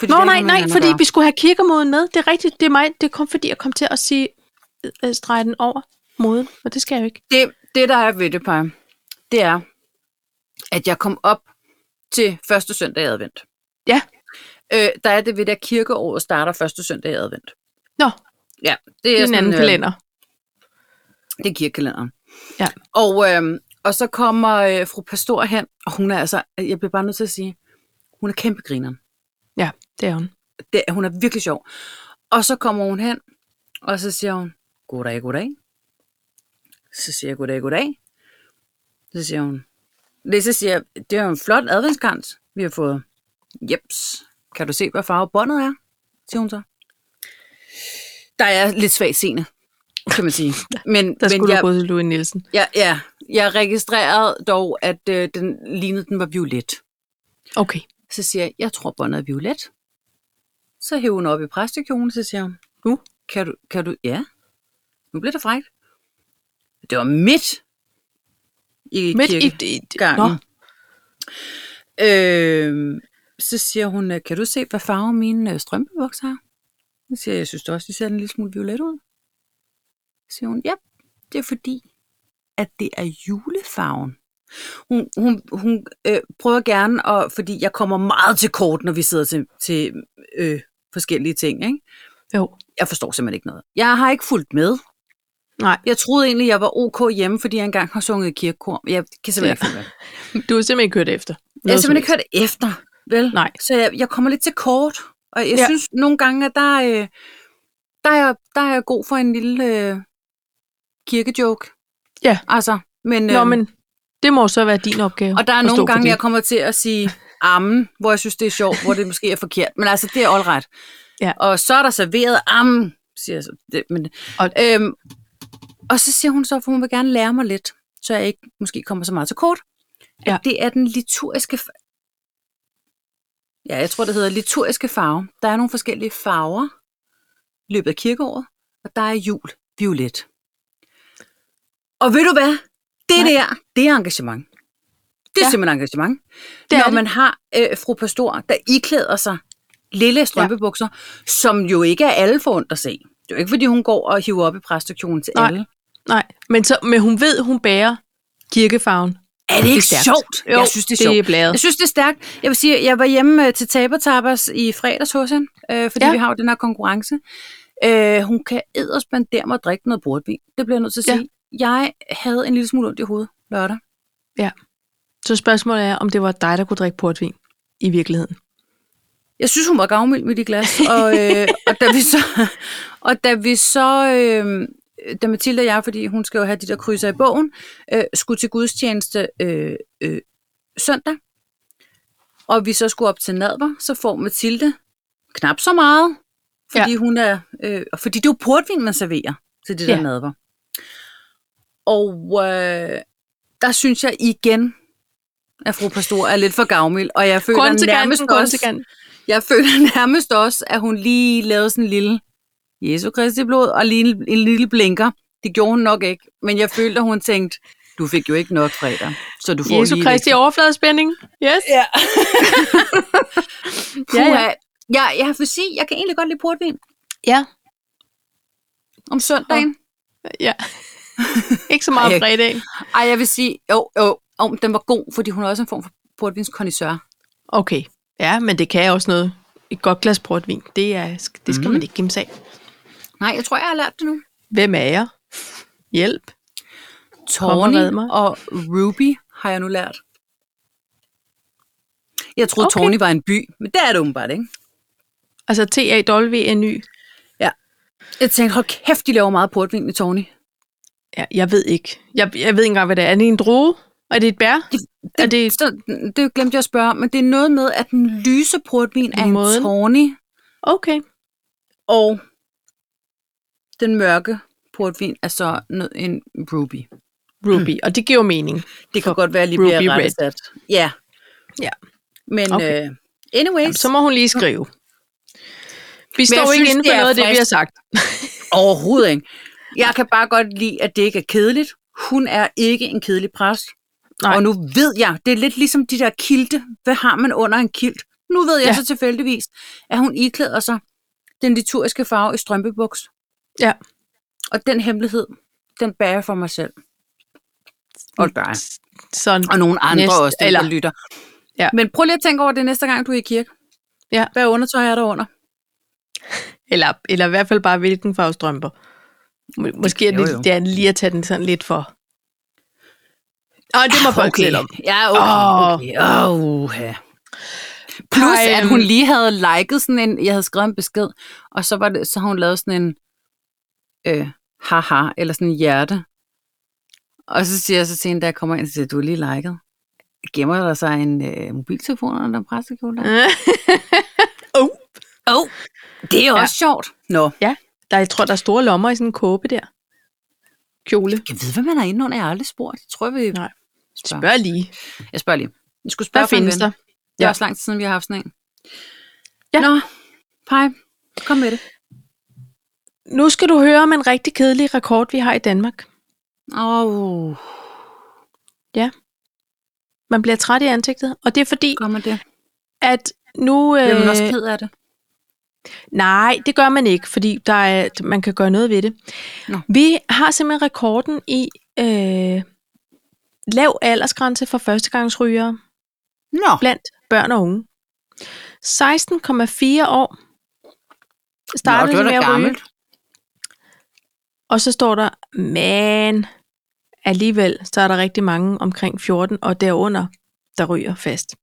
S2: Fordi
S3: Nå
S2: det har
S3: nej,
S2: ikke noget med
S3: nej,
S2: hinanden at
S3: fordi
S2: gøre.
S3: vi skulle have kirkemoden med. Det er rigtigt, det er mig. Det kom, fordi jeg kom til at sige øh, strege den over moden, og det skal jeg jo ikke.
S2: det, det, der er ved det, Paj, det er, at jeg kom op til første søndag i advent.
S3: Ja.
S2: Øh, der er det ved, at kirkeåret starter første søndag i advent.
S3: Nå,
S2: Ja, det er,
S3: det er en
S2: sådan,
S3: anden
S2: øh,
S3: kalender.
S2: Det er kirkekalenderen.
S3: Ja.
S2: Og, øh, og så kommer øh, fru Pastor hen, og hun er altså, jeg bliver bare nødt til at sige, hun er kæmpe griner.
S3: Ja, det er hun.
S2: Det, hun er virkelig sjov. Og så kommer hun hen, og så siger hun, goddag, goddag. Så siger jeg, goddag, goddag. Så siger hun, Lise siger, det er jo en flot adventskrans, vi har fået. Jeps, kan du se, hvad farve båndet er? Siger hun så. Der er jeg lidt svag scene, kan man sige. Men,
S3: Der
S2: men
S3: skulle
S2: jeg,
S3: du gå til Louis Nielsen.
S2: jeg, ja, jeg registrerede dog, at øh, den lignede, den var violet.
S3: Okay.
S2: Så siger jeg, jeg tror båndet er violet. Så hæver hun op i præstekjolen, så siger hun,
S3: Nu?
S2: kan du, kan du, ja. Nu bliver det frækt. Det var midt i
S3: Midt i,
S2: kirke-
S3: i, i nå,
S2: gangen. Øh, så siger hun, øh, kan du se, hvad farve mine øh, strømpebukser har? Så siger jeg, jeg synes da også, de ser en lille smule violet ud. Så siger hun, ja, det er fordi, at det er julefarven. Hun, hun, hun øh, prøver gerne, at, fordi jeg kommer meget til kort, når vi sidder til, til øh, forskellige ting. Ikke?
S3: Jo,
S2: Jeg forstår simpelthen ikke noget. Jeg har ikke fulgt med.
S3: nej.
S2: Jeg troede egentlig, jeg var ok hjemme, fordi jeg engang har sunget i kirkekor. Jeg kan simpelthen ja.
S3: Ja.
S2: ikke følge med.
S3: Du har simpelthen ikke kørt efter.
S2: Jeg har
S3: Noget som
S2: simpelthen ikke hørt efter. Vel?
S3: Nej.
S2: Så jeg, jeg kommer lidt til kort, og jeg
S3: Ja.
S2: ja. synes nogle gange, at der, øh, der, er, jeg- der er jeg god for en lille øh, kirkejoke.
S3: Ja.
S2: Altså, men,
S3: Nå,
S2: øhm,
S3: men det må så være din opgave.
S2: og der er
S3: at
S2: nogle
S3: stå for
S2: gange,
S3: det.
S2: jeg kommer til at sige ammen, hvor jeg synes, det er sjovt, hvor det måske er forkert. Men altså, det er all right.
S3: Ja.
S2: Og så er der serveret ammen, siger jeg så. Det, men,
S3: Og-
S2: og, øhm, og så siger hun så, for hun vil gerne lære mig lidt, så jeg ikke måske kommer så meget til kort. at
S3: Ja.
S2: Det er den lituriske... fa- Ja, jeg tror, det hedder lituriske farve. Der er nogle forskellige farver i løbet af kirkeåret, og der er jul violet. Og ved du hvad? Det
S3: Nej.
S2: Nej. der, det er engagement. Det er
S3: Ja.
S2: ja. simpelthen engagement.
S3: Det
S2: Det
S3: er
S2: Når
S3: det.
S2: man har øh, fru Pastor, der iklæder sig lille strømpebukser, ja. som jo ikke er alle forundt at se. Det er jo ikke, fordi hun går og hiver op i præstekjolen til
S3: Nej.
S2: alle.
S3: Nej, men, så, men hun ved, hun bærer kirkefarven.
S2: Er det
S3: er
S2: ikke
S3: stærkt.
S2: sjovt?
S3: Jo,
S2: jeg synes, det er
S3: det
S2: sjovt.
S3: er blæret.
S2: Jeg synes, det er stærkt. Jeg vil sige, jeg var hjemme øh, til Tabertabers i fredags hos hende, øh, fordi
S3: Ja.
S2: ja. vi har jo den her konkurrence. Øh, hun kan edderspandere mig at drikke noget bordvin. Det bliver jeg nødt til at
S3: Ja.
S2: sige. Jeg havde en lille smule ondt i hovedet lørdag.
S3: Så spørgsmålet er, om det var dig, der kunne drikke portvin i virkeligheden.
S2: Jeg synes, hun var gavmild med de glas. Og, øh, og da vi så... Og da vi så... Øh, da Mathilde og jeg, fordi hun skal jo have de der krydser i bogen, øh, skulle til gudstjeneste øh, øh, søndag, og vi så skulle op til nadver, så får Mathilde knap så meget, fordi ja. hun er... Øh, og fordi det er jo portvin, man serverer til det der
S3: Ja.
S2: ja. nadver. Og øh, der synes jeg igen, at fru Pastor er lidt for gavmild, og jeg føler
S3: Grund til
S2: nærmest
S3: kanten, grund
S2: også...
S3: til kanten.
S2: Jeg føler nærmest også, at hun lige lavede sådan en lille Jesu Kristi blod og lige en, en lille blinker. Det gjorde hun nok ikke, men jeg følte, at hun tænkte, du fik jo ikke nok fredag, så du får
S3: Jesu
S2: lige
S3: Kristi overfladespænding. Yes.
S2: Ja.
S3: Ja,
S2: ja,
S3: ja.
S2: ja. Jeg, jeg vil sige, jeg kan egentlig godt lide portvin
S3: Ja.
S2: om søndagen.
S3: ja. Ikke så meget
S2: Ej,
S3: om
S2: jeg-
S3: fredagen.
S2: Ej, jeg vil sige, jo, jo, om den var god, fordi hun er også en form for portvinskondisør.
S3: Okay. Ja, men det kan også noget. Et godt glas portvin, det, er, det skal mm.
S2: Mhm.
S3: man ikke gemme af.
S2: Nej, jeg tror, jeg har lært det nu.
S3: Hvem er jeg? Hjælp.
S2: Tawny
S3: red mig.
S2: og Ruby har jeg nu lært. Jeg troede,
S3: Okay.
S2: okay. Tawny var en by, men det er det åbenbart, ikke?
S3: Altså T-A-W-N-Y.
S2: Jeg tænkte, hold kæft, de laver meget portvin i Tawny.
S3: Ja, jeg ved ikke. Jeg, jeg ved ikke engang, hvad det er. Er det en droge? Er det et bær? Det, er det
S2: Så, det glemte jeg at spørge om, men det er noget med, at den lyse portvin er en
S3: Måden.
S2: Tawny,
S3: Okay.
S2: og den mørke portvin er så noget- en Ruby.
S3: Ruby. Mm. Og det giver jo mening.
S2: Det kan godt være, at jeg lige
S3: Ruby
S2: bliver
S3: Red.
S2: rettesat. Ja.
S3: Ja.
S2: Men
S3: Okay.
S2: okay. uh, anyways.
S3: Jamen, så må hun lige skrive. Vi
S2: jeg
S3: står ikke
S2: synes,
S3: inden
S2: det
S3: for
S2: er
S3: noget af det, vi
S2: frisk.
S3: har sagt.
S2: Overhovedet ikke. Jeg kan bare godt lide, at det ikke er kedeligt. Hun er ikke en kedelig præst.
S3: Nej.
S2: Nej. Og nu ved jeg, det er lidt ligesom de der kilte. Hvad har man under en kilt? Nu ved jeg
S3: Ja.
S2: ja. så tilfældigvis, at hun iklæder sig den lituriske farve i strømpebuks.
S3: Ja.
S2: Og den hemmelighed, den bærer jeg for mig selv. Og dig.
S3: Sådan.
S2: Og nogle andre
S3: Næste-
S2: Næste, også, dem,
S3: Mm. eller-
S2: eller... der lytter.
S3: Ja.
S2: Men prøv lige at tænke over det næste gang, du er i kirke.
S3: Ja.
S2: Hvad undertøj er der under?
S3: Eller, eller i hvert fald bare, hvilken farve strømper. Må- Måske er det,
S2: jo,
S3: jo,
S2: jo.
S3: det er lige at tage den sådan lidt for... Åh, det må folk selv om.
S2: Ja,
S3: Åh.
S2: okay. okay. Oh. Okay. Plus,
S3: Ej,
S2: at hun lige havde liket sådan en, jeg havde skrevet en besked, og så, var det, så har hun lavet sådan en øh, haha, eller sådan en hjerte. Og så siger jeg så til hende, da jeg kommer ind, så siger jeg, du har lige liket. Gemmer der sig en øh, mobiltelefon under den præstekjole? der?
S3: oh.
S2: Åh, det er også ja. sjovt. Nå,
S3: Ja, der, jeg tror, der er store lommer i sådan en kåbe der. Kjole.
S2: jeg ved, hvad man er inde under, jeg har aldrig spurgt. Jeg tror, vi...
S3: Nej.
S2: Spørg.
S3: Spørg lige.
S2: Jeg spørger lige. Jeg skulle spørge
S3: Hvad
S2: for en
S3: findes
S2: ven.
S3: der?
S2: Det er
S3: Ja.
S2: ja. også lang tid siden, vi har haft sådan en.
S3: Ja.
S2: Nå, Paj, kom med det.
S3: Nu skal du høre om en rigtig kedelig rekord, vi har i Danmark.
S2: Åh, oh,
S3: Man bliver træt i ansigtet, og det er fordi,
S2: kom med det.
S3: at nu... øh,
S2: Bliver man også ked af det?
S3: Nej, det gør man ikke, fordi der er, man kan gøre noget ved det.
S2: Nå.
S3: Vi har simpelthen rekorden i øh, lav aldersgrænse for førstegangsrygere
S2: Nå,
S3: blandt børn og unge. 16,4 år startede
S2: Nå
S3: de
S2: det
S3: med
S2: var
S3: at
S2: da
S3: ryge,
S2: gammelt.
S3: og så står der, men alligevel, så er der rigtig mange omkring 14 og derunder, der ryger fast.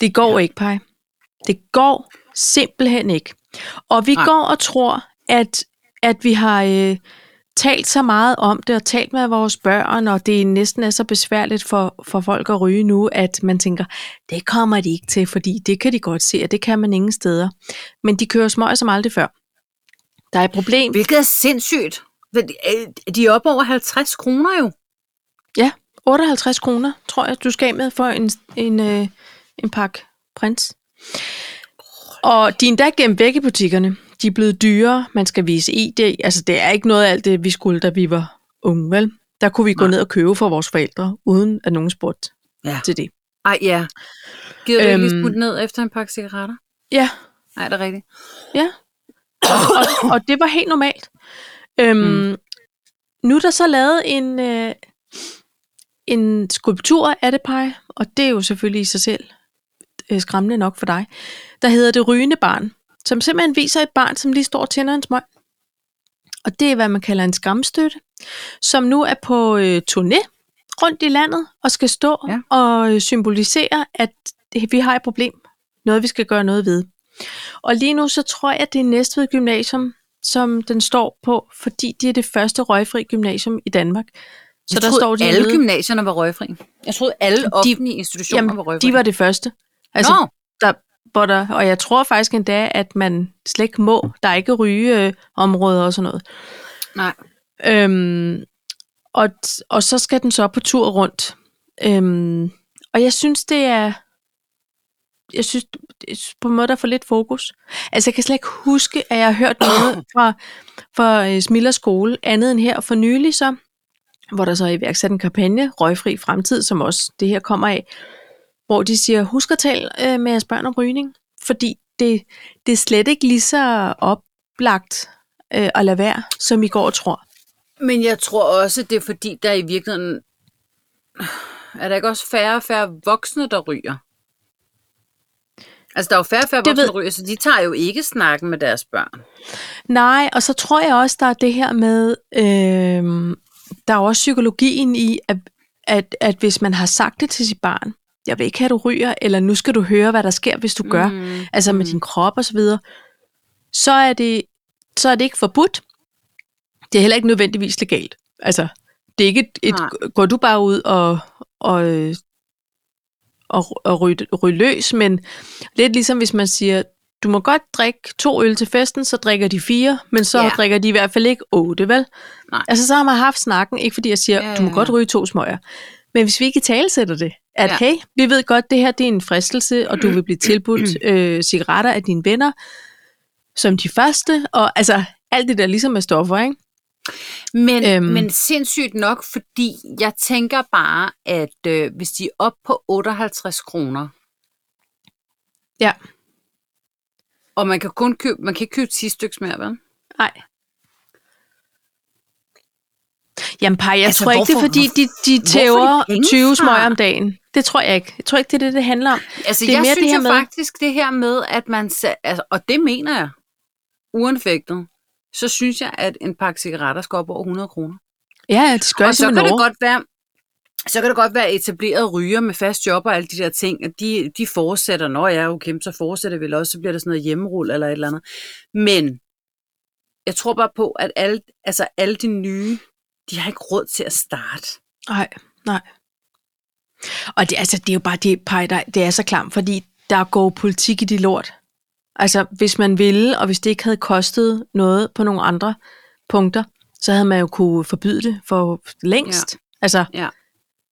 S3: Det går ja. ikke, Paj. Det går simpelthen ikke. Og vi
S2: Nej.
S3: Nej. går og tror, at, at vi har øh, talt så meget om det, og talt med vores børn, og det næsten er så besværligt for, for folk at ryge nu, at man tænker, det kommer de ikke til, fordi det kan de godt se, og det kan man ingen steder. Men de kører smøg som aldrig før. Der er et problem.
S2: Hvilket er sindssygt. Men, øh, De er oppe over 50 kroner jo.
S3: Ja, 58 kroner, tror jeg, du skal af med for en, en, øh, en pakke prins. Og de er endda gennem væk i butikkerne. De er blevet dyrere, man skal vise ID. Altså, det er ikke noget af alt det, vi skulle, da vi var unge, vel? Der kunne vi gå
S2: Nej.
S3: ned og købe for vores forældre, uden at nogen spurgte
S2: Ja.
S3: til det.
S2: Ej, ja. Gider du øhm, ikke lige
S3: Øhm.
S2: smutte ned efter en pakke cigaretter?
S3: Ja,
S2: Nej, det er rigtigt.
S3: Ja. Og, og, og det var helt normalt. Øhm,
S2: Mm.
S3: mm. Nu er der så lavet en, øh, en skulptur af det, Paj, og det er jo selvfølgelig i sig selv øh, skræmmende nok for dig, der hedder Det Rygende Barn, som simpelthen viser et barn, som lige står og tænder en smøg. Og det er, hvad man kalder en skamstøtte, som nu er på øh, turné rundt i landet og skal stå
S2: Ja.
S3: ja. og øh, symbolisere, at vi har et problem. Noget, vi skal gøre noget ved. Og lige nu så tror jeg, at det er Næstved Gymnasium, som den står på, fordi det er det første røgfri gymnasium i Danmark. Så
S2: jeg
S3: der
S2: troede,
S3: står de
S2: alle
S3: nede-
S2: gymnasierne var røgfri. Jeg troede, alle offentlige institutioner var
S3: Jamen,
S2: røgfri.
S3: de var det første.
S2: altså,
S3: Altså,
S2: Nå,
S3: der, hvor der, og jeg tror faktisk endda, at man slet ikke må, der er ikke ryge øh, områder og sådan noget.
S2: nej.
S3: Øhm, og, og så skal den så på tur rundt. Øhm, og jeg synes, det er... Jeg synes, jeg synes på en måde, der er for lidt fokus. Altså, jeg kan slet ikke huske, at jeg har hørt noget fra, fra øh, Smiller skole, andet end her for nylig så, hvor der så er iværksat en kampagne, Røgfri Fremtid, som også det her kommer af, hvor de siger, husk at tale øh, med jeres børn om rygning, fordi det, det er slet ikke lige så oplagt øh, at lade være, som I går og tror.
S2: Men jeg tror også, det er fordi, der i virkeligheden... Er der ikke også færre og færre voksne, der ryger? Altså, der er jo færre og færre
S3: Det
S2: voksne,
S3: ved-
S2: der ryger, så de tager jo ikke snakken med deres børn.
S3: Nej, og så tror jeg også, der er det her med, øh, der er jo også psykologien i, at, at, at hvis man har sagt det til sit barn, jeg vil ikke have, at du ryger, eller nu skal du høre, hvad der sker, hvis du gør,
S2: Mm.
S3: altså med din krop og så videre, så er det, så er det ikke forbudt. Det er heller ikke nødvendigvis legalt. Altså, det er ikke et,
S2: Nej.
S3: et går du bare ud og, og, øh, og, og ryge, ryge løs, men lidt ligesom hvis man siger, du må godt drikke to øl til festen, så drikker de fire, men så
S2: Ja.
S3: ja. drikker de i hvert fald ikke otte, vel?
S2: Nej.
S3: Altså, så har man haft snakken, ikke fordi jeg siger,
S2: Ja,
S3: ja, du må
S2: ja,
S3: godt
S2: ja.
S3: ryge to smøger. Men hvis vi ikke talsætter det, at
S2: Ja.
S3: ja. hey, vi ved godt, det her det er en fristelse, og du vil blive tilbudt øh, cigaretter af dine venner som de første, og altså alt det der ligesom med stoffer, ikke?
S2: Men, øhm.
S3: Øhm.
S2: men sindssygt nok, fordi jeg tænker bare, at øh, hvis de er op på 58 kroner,
S3: Ja.
S2: og man kan kun købe, man kan ikke købe 10 stykker mere, vel?
S3: Nej. Jamen, par, jeg altså,
S2: Altså,
S3: tror ikke, det er
S2: hvorfor-
S3: fordi, de, de
S2: hvorfor er de
S3: tæver
S2: penge
S3: 20
S2: fra?
S3: smøger om dagen. Det tror jeg ikke. Jeg tror ikke, det er det, det handler om.
S2: Altså,
S3: Det er
S2: jeg
S3: mere det
S2: synes
S3: her
S2: jo
S3: med-
S2: faktisk det her med, at man, sa- altså, og det mener jeg, uanfægtet, så synes jeg, at en pakke cigaretter skal op over 100 kroner.
S3: Ja, ja, de skal
S2: Og
S3: også
S2: så kan
S3: med
S2: det
S3: Norge.
S2: godt være, så kan det godt være etableret ryger med fast job og alle de der ting, at de, de fortsætter, når jeg er okay, men så fortsætter vi vel også, så bliver det sådan noget hjemmerul eller et eller andet. Men jeg tror bare på, at alle, altså alle de nye, de har ikke råd til at starte.
S3: Nej, nej. Og det, altså, det er jo bare det, Paj, der, det er så klamt, fordi der går politik i det lort. Altså, hvis man ville, og hvis det ikke havde kostet noget på nogle andre punkter, så havde man jo kunne forbyde det for længst. Ja. Altså,
S2: Ja.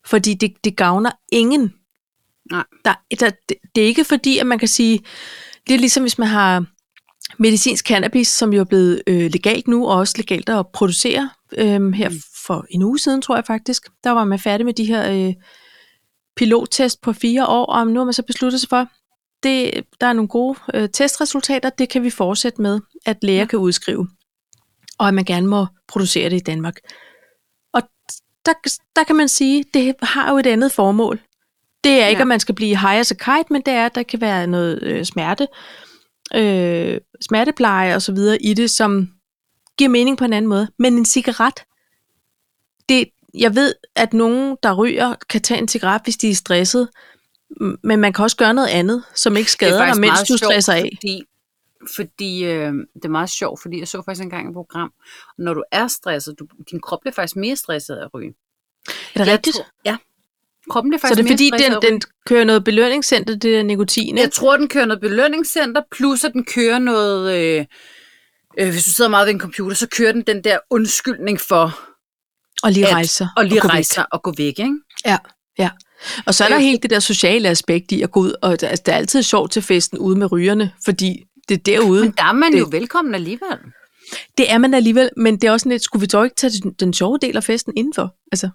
S3: fordi det, det gavner ingen.
S2: Nej.
S3: Der, der, det, det er ikke fordi, at man kan sige, det er ligesom hvis man har medicinsk cannabis, som jo er blevet øh, legalt nu, og også legalt at producere øhm, her for en uge siden, tror jeg faktisk. Der var man færdig med de her øh, pilottest på fire år, og nu har man så besluttet sig for, det, der er nogle gode øh, testresultater, det kan vi fortsætte med, at læger ja. kan udskrive, og at man gerne må producere det i Danmark. Og der, der kan man sige, det har jo et andet formål. Det er ikke,
S2: Ja.
S3: ja. at man skal blive high as a kite, men det er, at der kan være noget øh, smerte, øh, smertepleje og så videre i det, som giver mening på en anden måde. Men en cigaret, det, jeg ved, at nogen, der ryger, kan tage en cigaret, hvis de er stresset, M- Men man kan også gøre noget andet, som ikke
S2: Det er
S3: skader dig,
S2: faktisk
S3: mens
S2: meget
S3: du
S2: sjovt,
S3: stresser af.
S2: Fordi, fordi øh, det er meget sjovt, fordi jeg så faktisk engang et program, og når du er stresset, du, din krop bliver faktisk mere stresset af at ryge.
S3: Er det
S2: Jeg
S3: rigtigt?
S2: tror- ja. Kroppen bliver
S3: Så
S2: faktisk
S3: det er fordi,
S2: mere stresset
S3: den,
S2: af at ryge.
S3: den kører noget belønningscenter, det der nikotin,
S2: Jeg
S3: ikke?
S2: tror, den kører noget belønningscenter, plus at den kører noget... Øh, øh, hvis du sidder meget ved en computer, så kører den den der undskyldning for
S3: Og lige
S2: at-
S3: rejser.
S2: at lige
S3: gå væk. Mm.
S2: rejse sig og gå væk, ikke?
S3: Og så er der
S2: Øh.
S3: hele det der sociale aspekt i at gå ud, og der, altså, der er altid sjovt til festen ude med rygerne, fordi det er derude.
S2: Men der er man
S3: Det-
S2: jo velkommen alligevel.
S3: Det er man alligevel, men det er også sådan lidt, skulle vi dog ikke tage den, den sjove del af festen indenfor? Altså,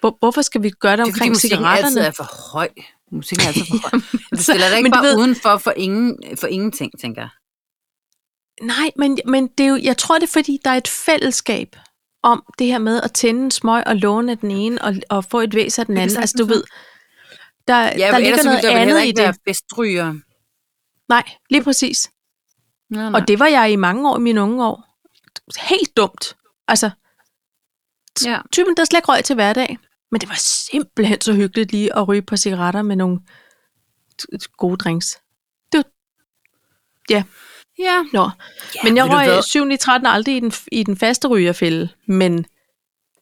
S3: hvor, hvorfor skal vi gøre det
S2: Det er fordi
S3: omkring
S2: musikken altid
S3: cigaretterne?
S2: er for høj. Musikken er altid for høj. Du stiller dig
S3: men
S2: ikke
S3: du
S2: bare
S3: ved-
S2: ved... udenfor for, ingen, for ingenting, tænker jeg.
S3: Nej, men, men det er jo, jeg tror det er, fordi der er et fællesskab om det her med at tænde en smøg og låne af den ene, og, og få et væs af den
S2: Det kan
S3: anden. Altså, du
S2: sagtens
S3: ved, der,
S2: Ja,
S3: der ligger noget andet i det.
S2: Være festryger.
S3: Nej, lige præcis.
S2: Nej,
S3: Og det var jeg i mange år, i mine unge år. Helt dumt. Altså,
S2: ja.
S3: typen, der slet ikke røg til hverdag. Men det var simpelthen så hyggeligt lige at ryge på cigaretter med nogle t- t- gode drinks.
S2: Ja.
S3: Nå. Ja, men jeg
S2: ved du hvad?
S3: røg 7. i 13 aldrig i den, i den faste rygerfælde. Men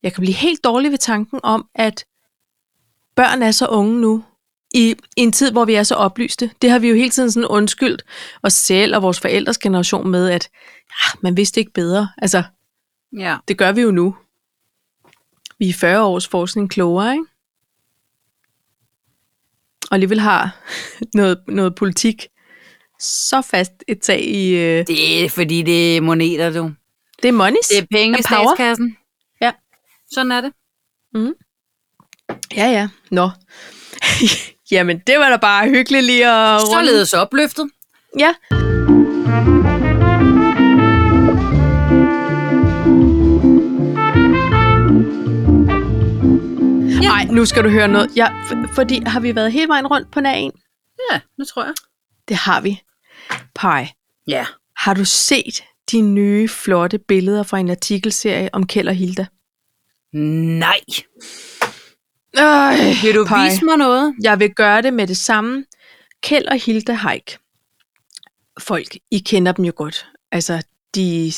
S3: jeg kan blive helt dårlig ved tanken om, at børn er så unge nu, i en tid, hvor vi er så oplyste. Det har vi jo hele tiden sådan undskyldt os selv og vores forældres generation med, at ja, man vidste ikke bedre. Altså,
S2: Ja.
S3: det gør vi jo nu. Vi er 40 års forskning klogere, ikke? Og alligevel har noget, noget politik så fast et tag i... Øh,
S2: Det er fordi, det er moneter, du.
S3: det er monies.
S2: Det er penge i
S3: Er power.
S2: statskassen.
S3: Ja.
S2: Sådan er det.
S3: Ja, ja. Nå. Jamen, det var da bare hyggeligt lige at runde.
S2: Således opløftet.
S3: Ja. Nej, nu skal du høre noget. Ja, f- fordi har vi været hele vejen rundt på nær en?
S2: Ja, nu tror jeg.
S3: Det har vi. Pej,
S2: Ja.
S3: har du set de nye flotte billeder fra en artikelserie om Kjell og Hilda?
S2: Nej.
S3: Øh,
S2: Vil du
S3: Pej.
S2: vise mig noget?
S3: Jeg vil gøre det med det samme. Kjeld og Hilde Haik. Folk, I kender dem jo godt. Altså, de,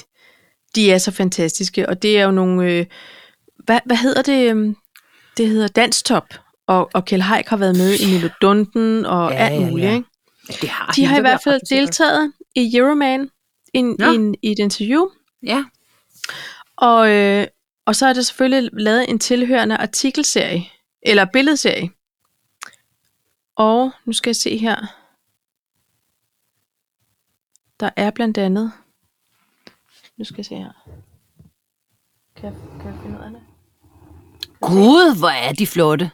S3: de er så fantastiske, og det er jo nogle... Øh, hvad, hvad hedder det? øhm, Det hedder Danstop, og, og Kjeld Haik har været med i Melodunden og
S2: Ja,
S3: ja, alt
S2: ja,
S3: muligt.
S2: ja.
S3: Ikke?
S2: Det har
S3: De har i hvert fald
S2: delt.
S3: deltaget i Euroman in,
S2: Nå.
S3: in, i et interview,
S2: Ja.
S3: og, øh, og så er der selvfølgelig lavet en tilhørende artikelserie, eller billedserie. Og nu skal jeg se her. Der er blandt andet... Nu skal jeg se her. Kan jeg, kan jeg finde ud af det?
S2: Gud, hvor er de flotte.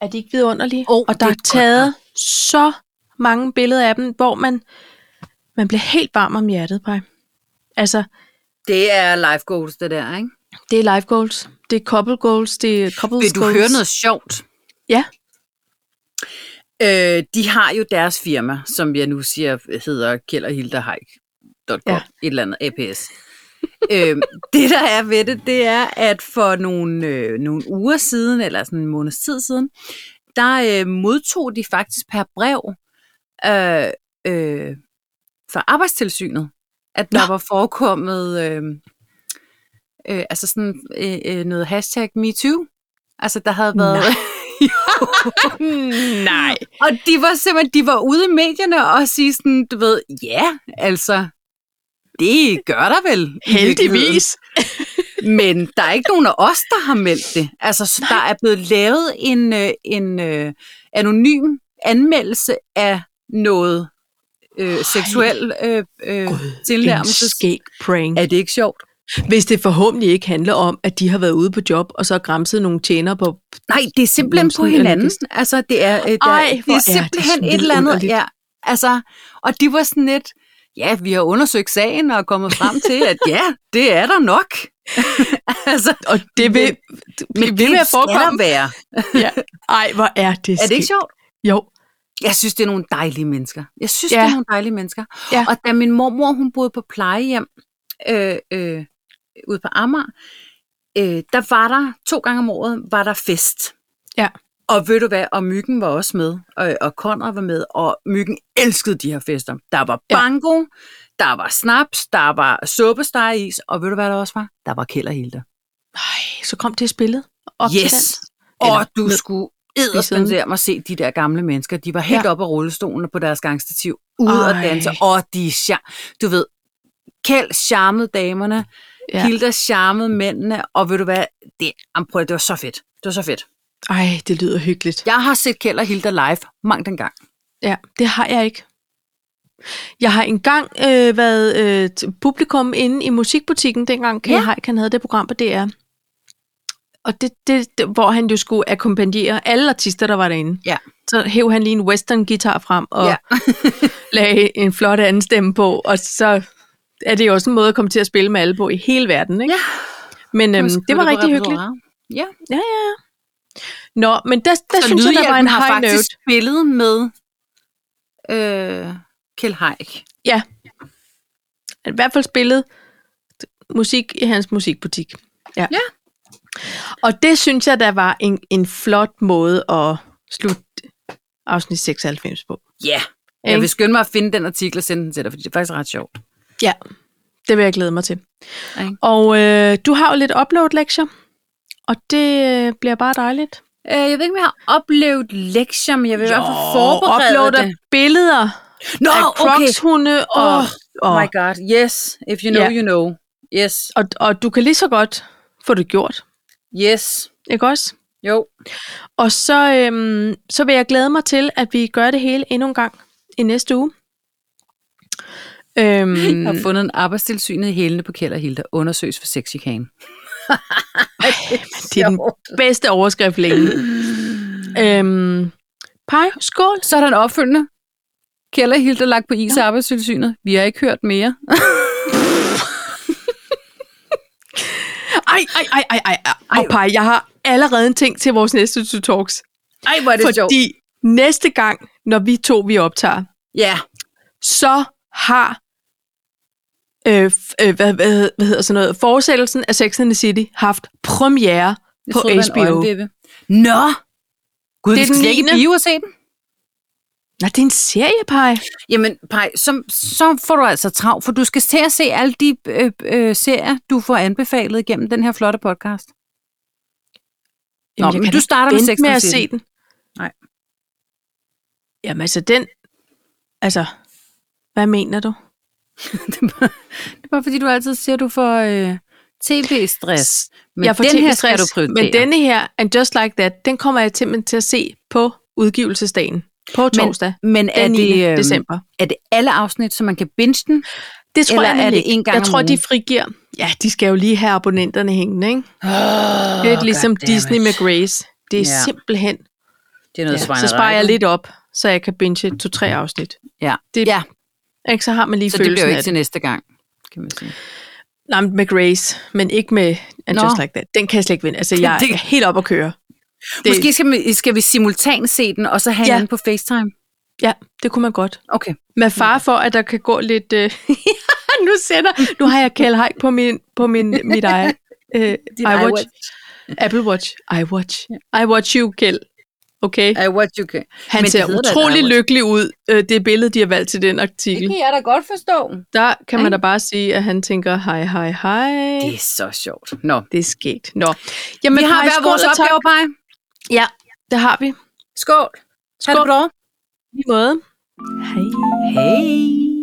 S3: Er de ikke vidunderlige?
S2: Åh,
S3: og der
S2: det
S3: er
S2: er godt
S3: taget så mange billeder af dem, hvor man, man bliver helt varm om hjertet, på. Altså,
S2: Det er life goals, det der, ikke?
S3: det er life goals, det er couple goals, det er couples
S2: Vil du
S3: goals.
S2: høre noget sjovt?
S3: Ja.
S2: Øh, de har jo deres firma, som jeg nu siger hedder Kjell og Hilda Haik. Ja.
S3: Ja.
S2: Et eller andet APS. øhm, det der er ved det, det er, at for nogle, øh, nogle uger siden, eller sådan en måneds tid siden, der øh, modtog de faktisk per brev øh, øh, fra arbejdstilsynet, at der
S3: Nå.
S2: Nå. var forekommet øh, øh, altså sådan øh, øh, noget hashtag MeToo. Altså der havde været...
S3: Nej. Nej.
S2: Og de var simpelthen, de var ude i medierne og sige sådan, du ved, ja, altså, det gør der vel. i virkeligheden.
S3: Heldigvis.
S2: Men der er ikke nogen af os, der har meldt det. Altså, så der er blevet lavet en, øh, en øh, anonym anmeldelse af noget øh, seksuel øh, øh, tilnærmelse.
S3: En skæg prank.
S2: Er det ikke sjovt?
S3: Hvis det forhåbentlig ikke handler om, at de har været ude på job, og så har græmset nogle tjener på...
S2: Nej, det er simpelthen på
S3: Jamen, sådan
S2: hinanden.
S3: anarkist.
S2: Altså, det er, øh, der,
S3: Ej,
S2: det
S3: hvor er
S2: er
S3: det
S2: simpelthen
S3: sådan
S2: et eller andet.
S3: vidunderligt.
S2: Ja, altså, og de var sådan lidt, ja, vi har undersøgt sagen og er kommet frem til, at ja, det er der nok. altså,
S3: Og det vil, men, det vil
S2: det
S3: være
S2: skal der
S3: forekomme.
S2: være.
S3: Ja. Ej, hvor er det
S2: Er det ikke
S3: skægt.
S2: sjovt?
S3: Jo.
S2: Jeg synes, det er nogle dejlige mennesker. Jeg synes, ja.
S3: Ja.
S2: det er nogle dejlige mennesker.
S3: Ja.
S2: Og da min mormor, hun boede på plejehjem øh, øh, ude på Amager, øh, der var der, to gange om året, var der fest.
S3: Ja.
S2: Og ved du hvad, og Myggen var også med, og, og Konrad var med, og Myggen elskede de her fester. Der var
S3: Ja.
S2: bango, der var snaps, der var suppestegeis, og ved du hvad der også var? Der var kælderhilde.
S3: Nej, så kom det spillet op til dans.
S2: Yes! Og
S3: Eller
S2: du
S3: ned
S2: skulle
S3: i siden.
S2: edderspendere mig at se de der gamle mennesker. De var helt
S3: Ja.
S2: ja. oppe af rullestolen og på deres gangstativ, ude og
S3: Ej.
S2: danse, og de, scha- du ved, Kjeld charmede damerne, ja.
S3: Ja.
S2: Hilda charmede mændene, og ved du hvad, det, jamen prøv, at- det var så fedt. Det var så fedt.
S3: Ej, det lyder hyggeligt.
S2: Jeg har set Kjeld og Hilda live mange den gang.
S3: Ja, det har jeg ikke. Jeg har engang øh, været øh, t- publikum inde i musikbutikken, dengang Kay
S2: Ja.
S3: ja. Haik, han havde det program på DR. Og det, det, det, hvor han jo skulle akkompagnere alle artister, der var derinde.
S2: Ja.
S3: Så hæv han lige en western guitar frem og
S2: Ja.
S3: ja. lagde en flot anden stemme på, og så er det jo også en måde at komme til at spille med alle på i hele verden. Ikke?
S2: Ja.
S3: Men øhm,
S2: Husk,
S3: det var
S2: på
S3: rigtig hyggeligt.
S2: repertoire.
S3: Nå, men der, der
S2: Så
S3: synes jeg, der var en
S2: Lydhjælpen har
S3: high note.
S2: faktisk spillet med øh, Kjeld Haik.
S3: i hvert fald spillet musik i hans musikbutik. Ja.
S2: Ja.
S3: Og det synes jeg, der var en, en flot måde at slutte afsnit 96 på.
S2: Ja, yeah. jeg
S3: Ikke?
S2: vil skynde mig at finde den artikel og sende den til dig, fordi det er faktisk ret sjovt.
S3: Ja, det vil jeg glæde mig til.
S2: Ikke?
S3: Og øh, du har jo lidt upload-lektier, og det øh, bliver bare dejligt.
S2: Øh, jeg ved ikke, om jeg har oplevet lektier, men jeg vil i hvert fald forberede
S3: uploader
S2: det.
S3: billeder
S2: Nå,
S3: af
S2: okay.
S3: Crocs-hunde, og,
S2: Åh,
S3: og,
S2: Oh my god, yes. If you know,
S3: Ja.
S2: yeah. you know. Yes,
S3: og, og du kan lige så godt få det gjort,
S2: yes.
S3: ikke også?
S2: Jo,
S3: Og så, øhm, så vil jeg glæde mig til, at vi gør det hele endnu en gang i næste uge. Øhm,
S2: jeg har fundet en arbejdstilsynet i hælene på Kjeld og Hilda. Undersøges for sexchikane.
S3: det er den bedste overskrift længe. øhm, pej, skål.
S2: Så er der en opfølgende. Kjeld og Hilda lagt på is af arbejdstilsynet. Vi har ikke hørt mere.
S3: Ej, ej, ej, ej, ej. ej. Og pej, jeg har allerede en ting til vores næste to talks.
S2: Ej, hvor er det sjovt.
S3: Fordi næste gang, når vi to vi optager,
S2: Ja,
S3: så har øh, f- øh, hvad, hvad, hvad hedder sådan noget, fortsættelsen af Sex and the City haft premiere
S2: jeg
S3: på
S2: troede, det var en
S3: HBO.
S2: øjenvippe. Nå! Gud,
S3: Det er den
S2: det vi skal slet ikke i
S3: niende.
S2: bio og se den.
S3: Nej, det er en seriepej.
S2: Jamen, Paj, så, så får du altså travlt, for du skal til at se alle de øh, øh, serier, du får anbefalet igennem den her flotte podcast. Nå,
S3: Jamen, jeg
S2: men
S3: kan
S2: du
S3: ikke
S2: starter med
S3: vente
S2: Sex
S3: med
S2: and
S3: at
S2: the
S3: se
S2: City.
S3: den.
S2: Nej.
S3: Jamen altså den, altså, hvad mener du?
S2: det, er bare, det er bare fordi, du altid siger, at du får øh, tv-stress. Men
S3: jeg får
S2: den her skal
S3: tv-stress,
S2: du prioritere.
S3: Men denne her, And Just Like That, den kommer jeg simpelthen til at se på udgivelsesdagen. På torsdag.
S2: men er,
S3: den 9.
S2: det, øh,
S3: december.
S2: er det alle afsnit, så man kan binge den?
S3: Det tror
S2: eller
S3: jeg
S2: er
S3: nemlig
S2: det
S3: ikke.
S2: en gang
S3: Jeg
S2: om
S3: tror, de
S2: ugen?
S3: frigiver. Ja, de skal jo lige have abonnenterne hængende, ikke?
S2: Oh,
S3: Lidt ligesom Disney med Grace. Det er
S2: Ja.
S3: simpelthen...
S2: Det er noget
S3: Ja, så sparer jeg lidt op, så jeg kan binge to-tre afsnit.
S2: Ja.
S3: Det-
S2: Det, ja,
S3: Ikke? Så har man lige
S2: så det
S3: følelsen
S2: bliver jo
S3: af
S2: ikke til næste gang, kan man sige.
S3: Nej, men med Grace, men ikke med And
S2: Nå.
S3: Just Like That. Den kan jeg slet ikke vinde. Altså, jeg
S2: Det-
S3: er helt op at køre. Det,
S2: Det, Måske skal vi, skal vi simultant se den, og så have
S3: Ja.
S2: ja. den på FaceTime?
S3: Ja, det kunne man godt.
S2: Okay.
S3: Med far for, at der kan gå lidt... Øh, nu sender, nu har jeg Kjell Haik på, min, på min, mit eget, øh, iWatch.
S2: iWatch.
S3: Apple Watch. iWatch. iWatch you, Kjell. Okay?
S2: I what you can.
S3: Han
S2: Øh, men det
S3: ser
S2: hedder da et
S3: utrolig
S2: iWatch.
S3: lykkelig ud, øh, det billede, de har valgt til den
S2: Det
S3: artikel.
S2: kan jeg da godt forstå.
S3: Der kan man
S2: Ikke?
S3: da bare sige, at han tænker, hej, hej, hej.
S2: Det er så sjovt. Nå.
S3: Det er sket. Nå. Jamen,
S2: vi har
S3: Paj,
S2: hver
S3: skål
S2: vores
S3: og tak.
S2: opgave, Paj.
S3: Ja, det har vi.
S2: Skål.
S3: Skål.
S2: Ha det godt.
S3: lige måde. Hej.
S2: Hej.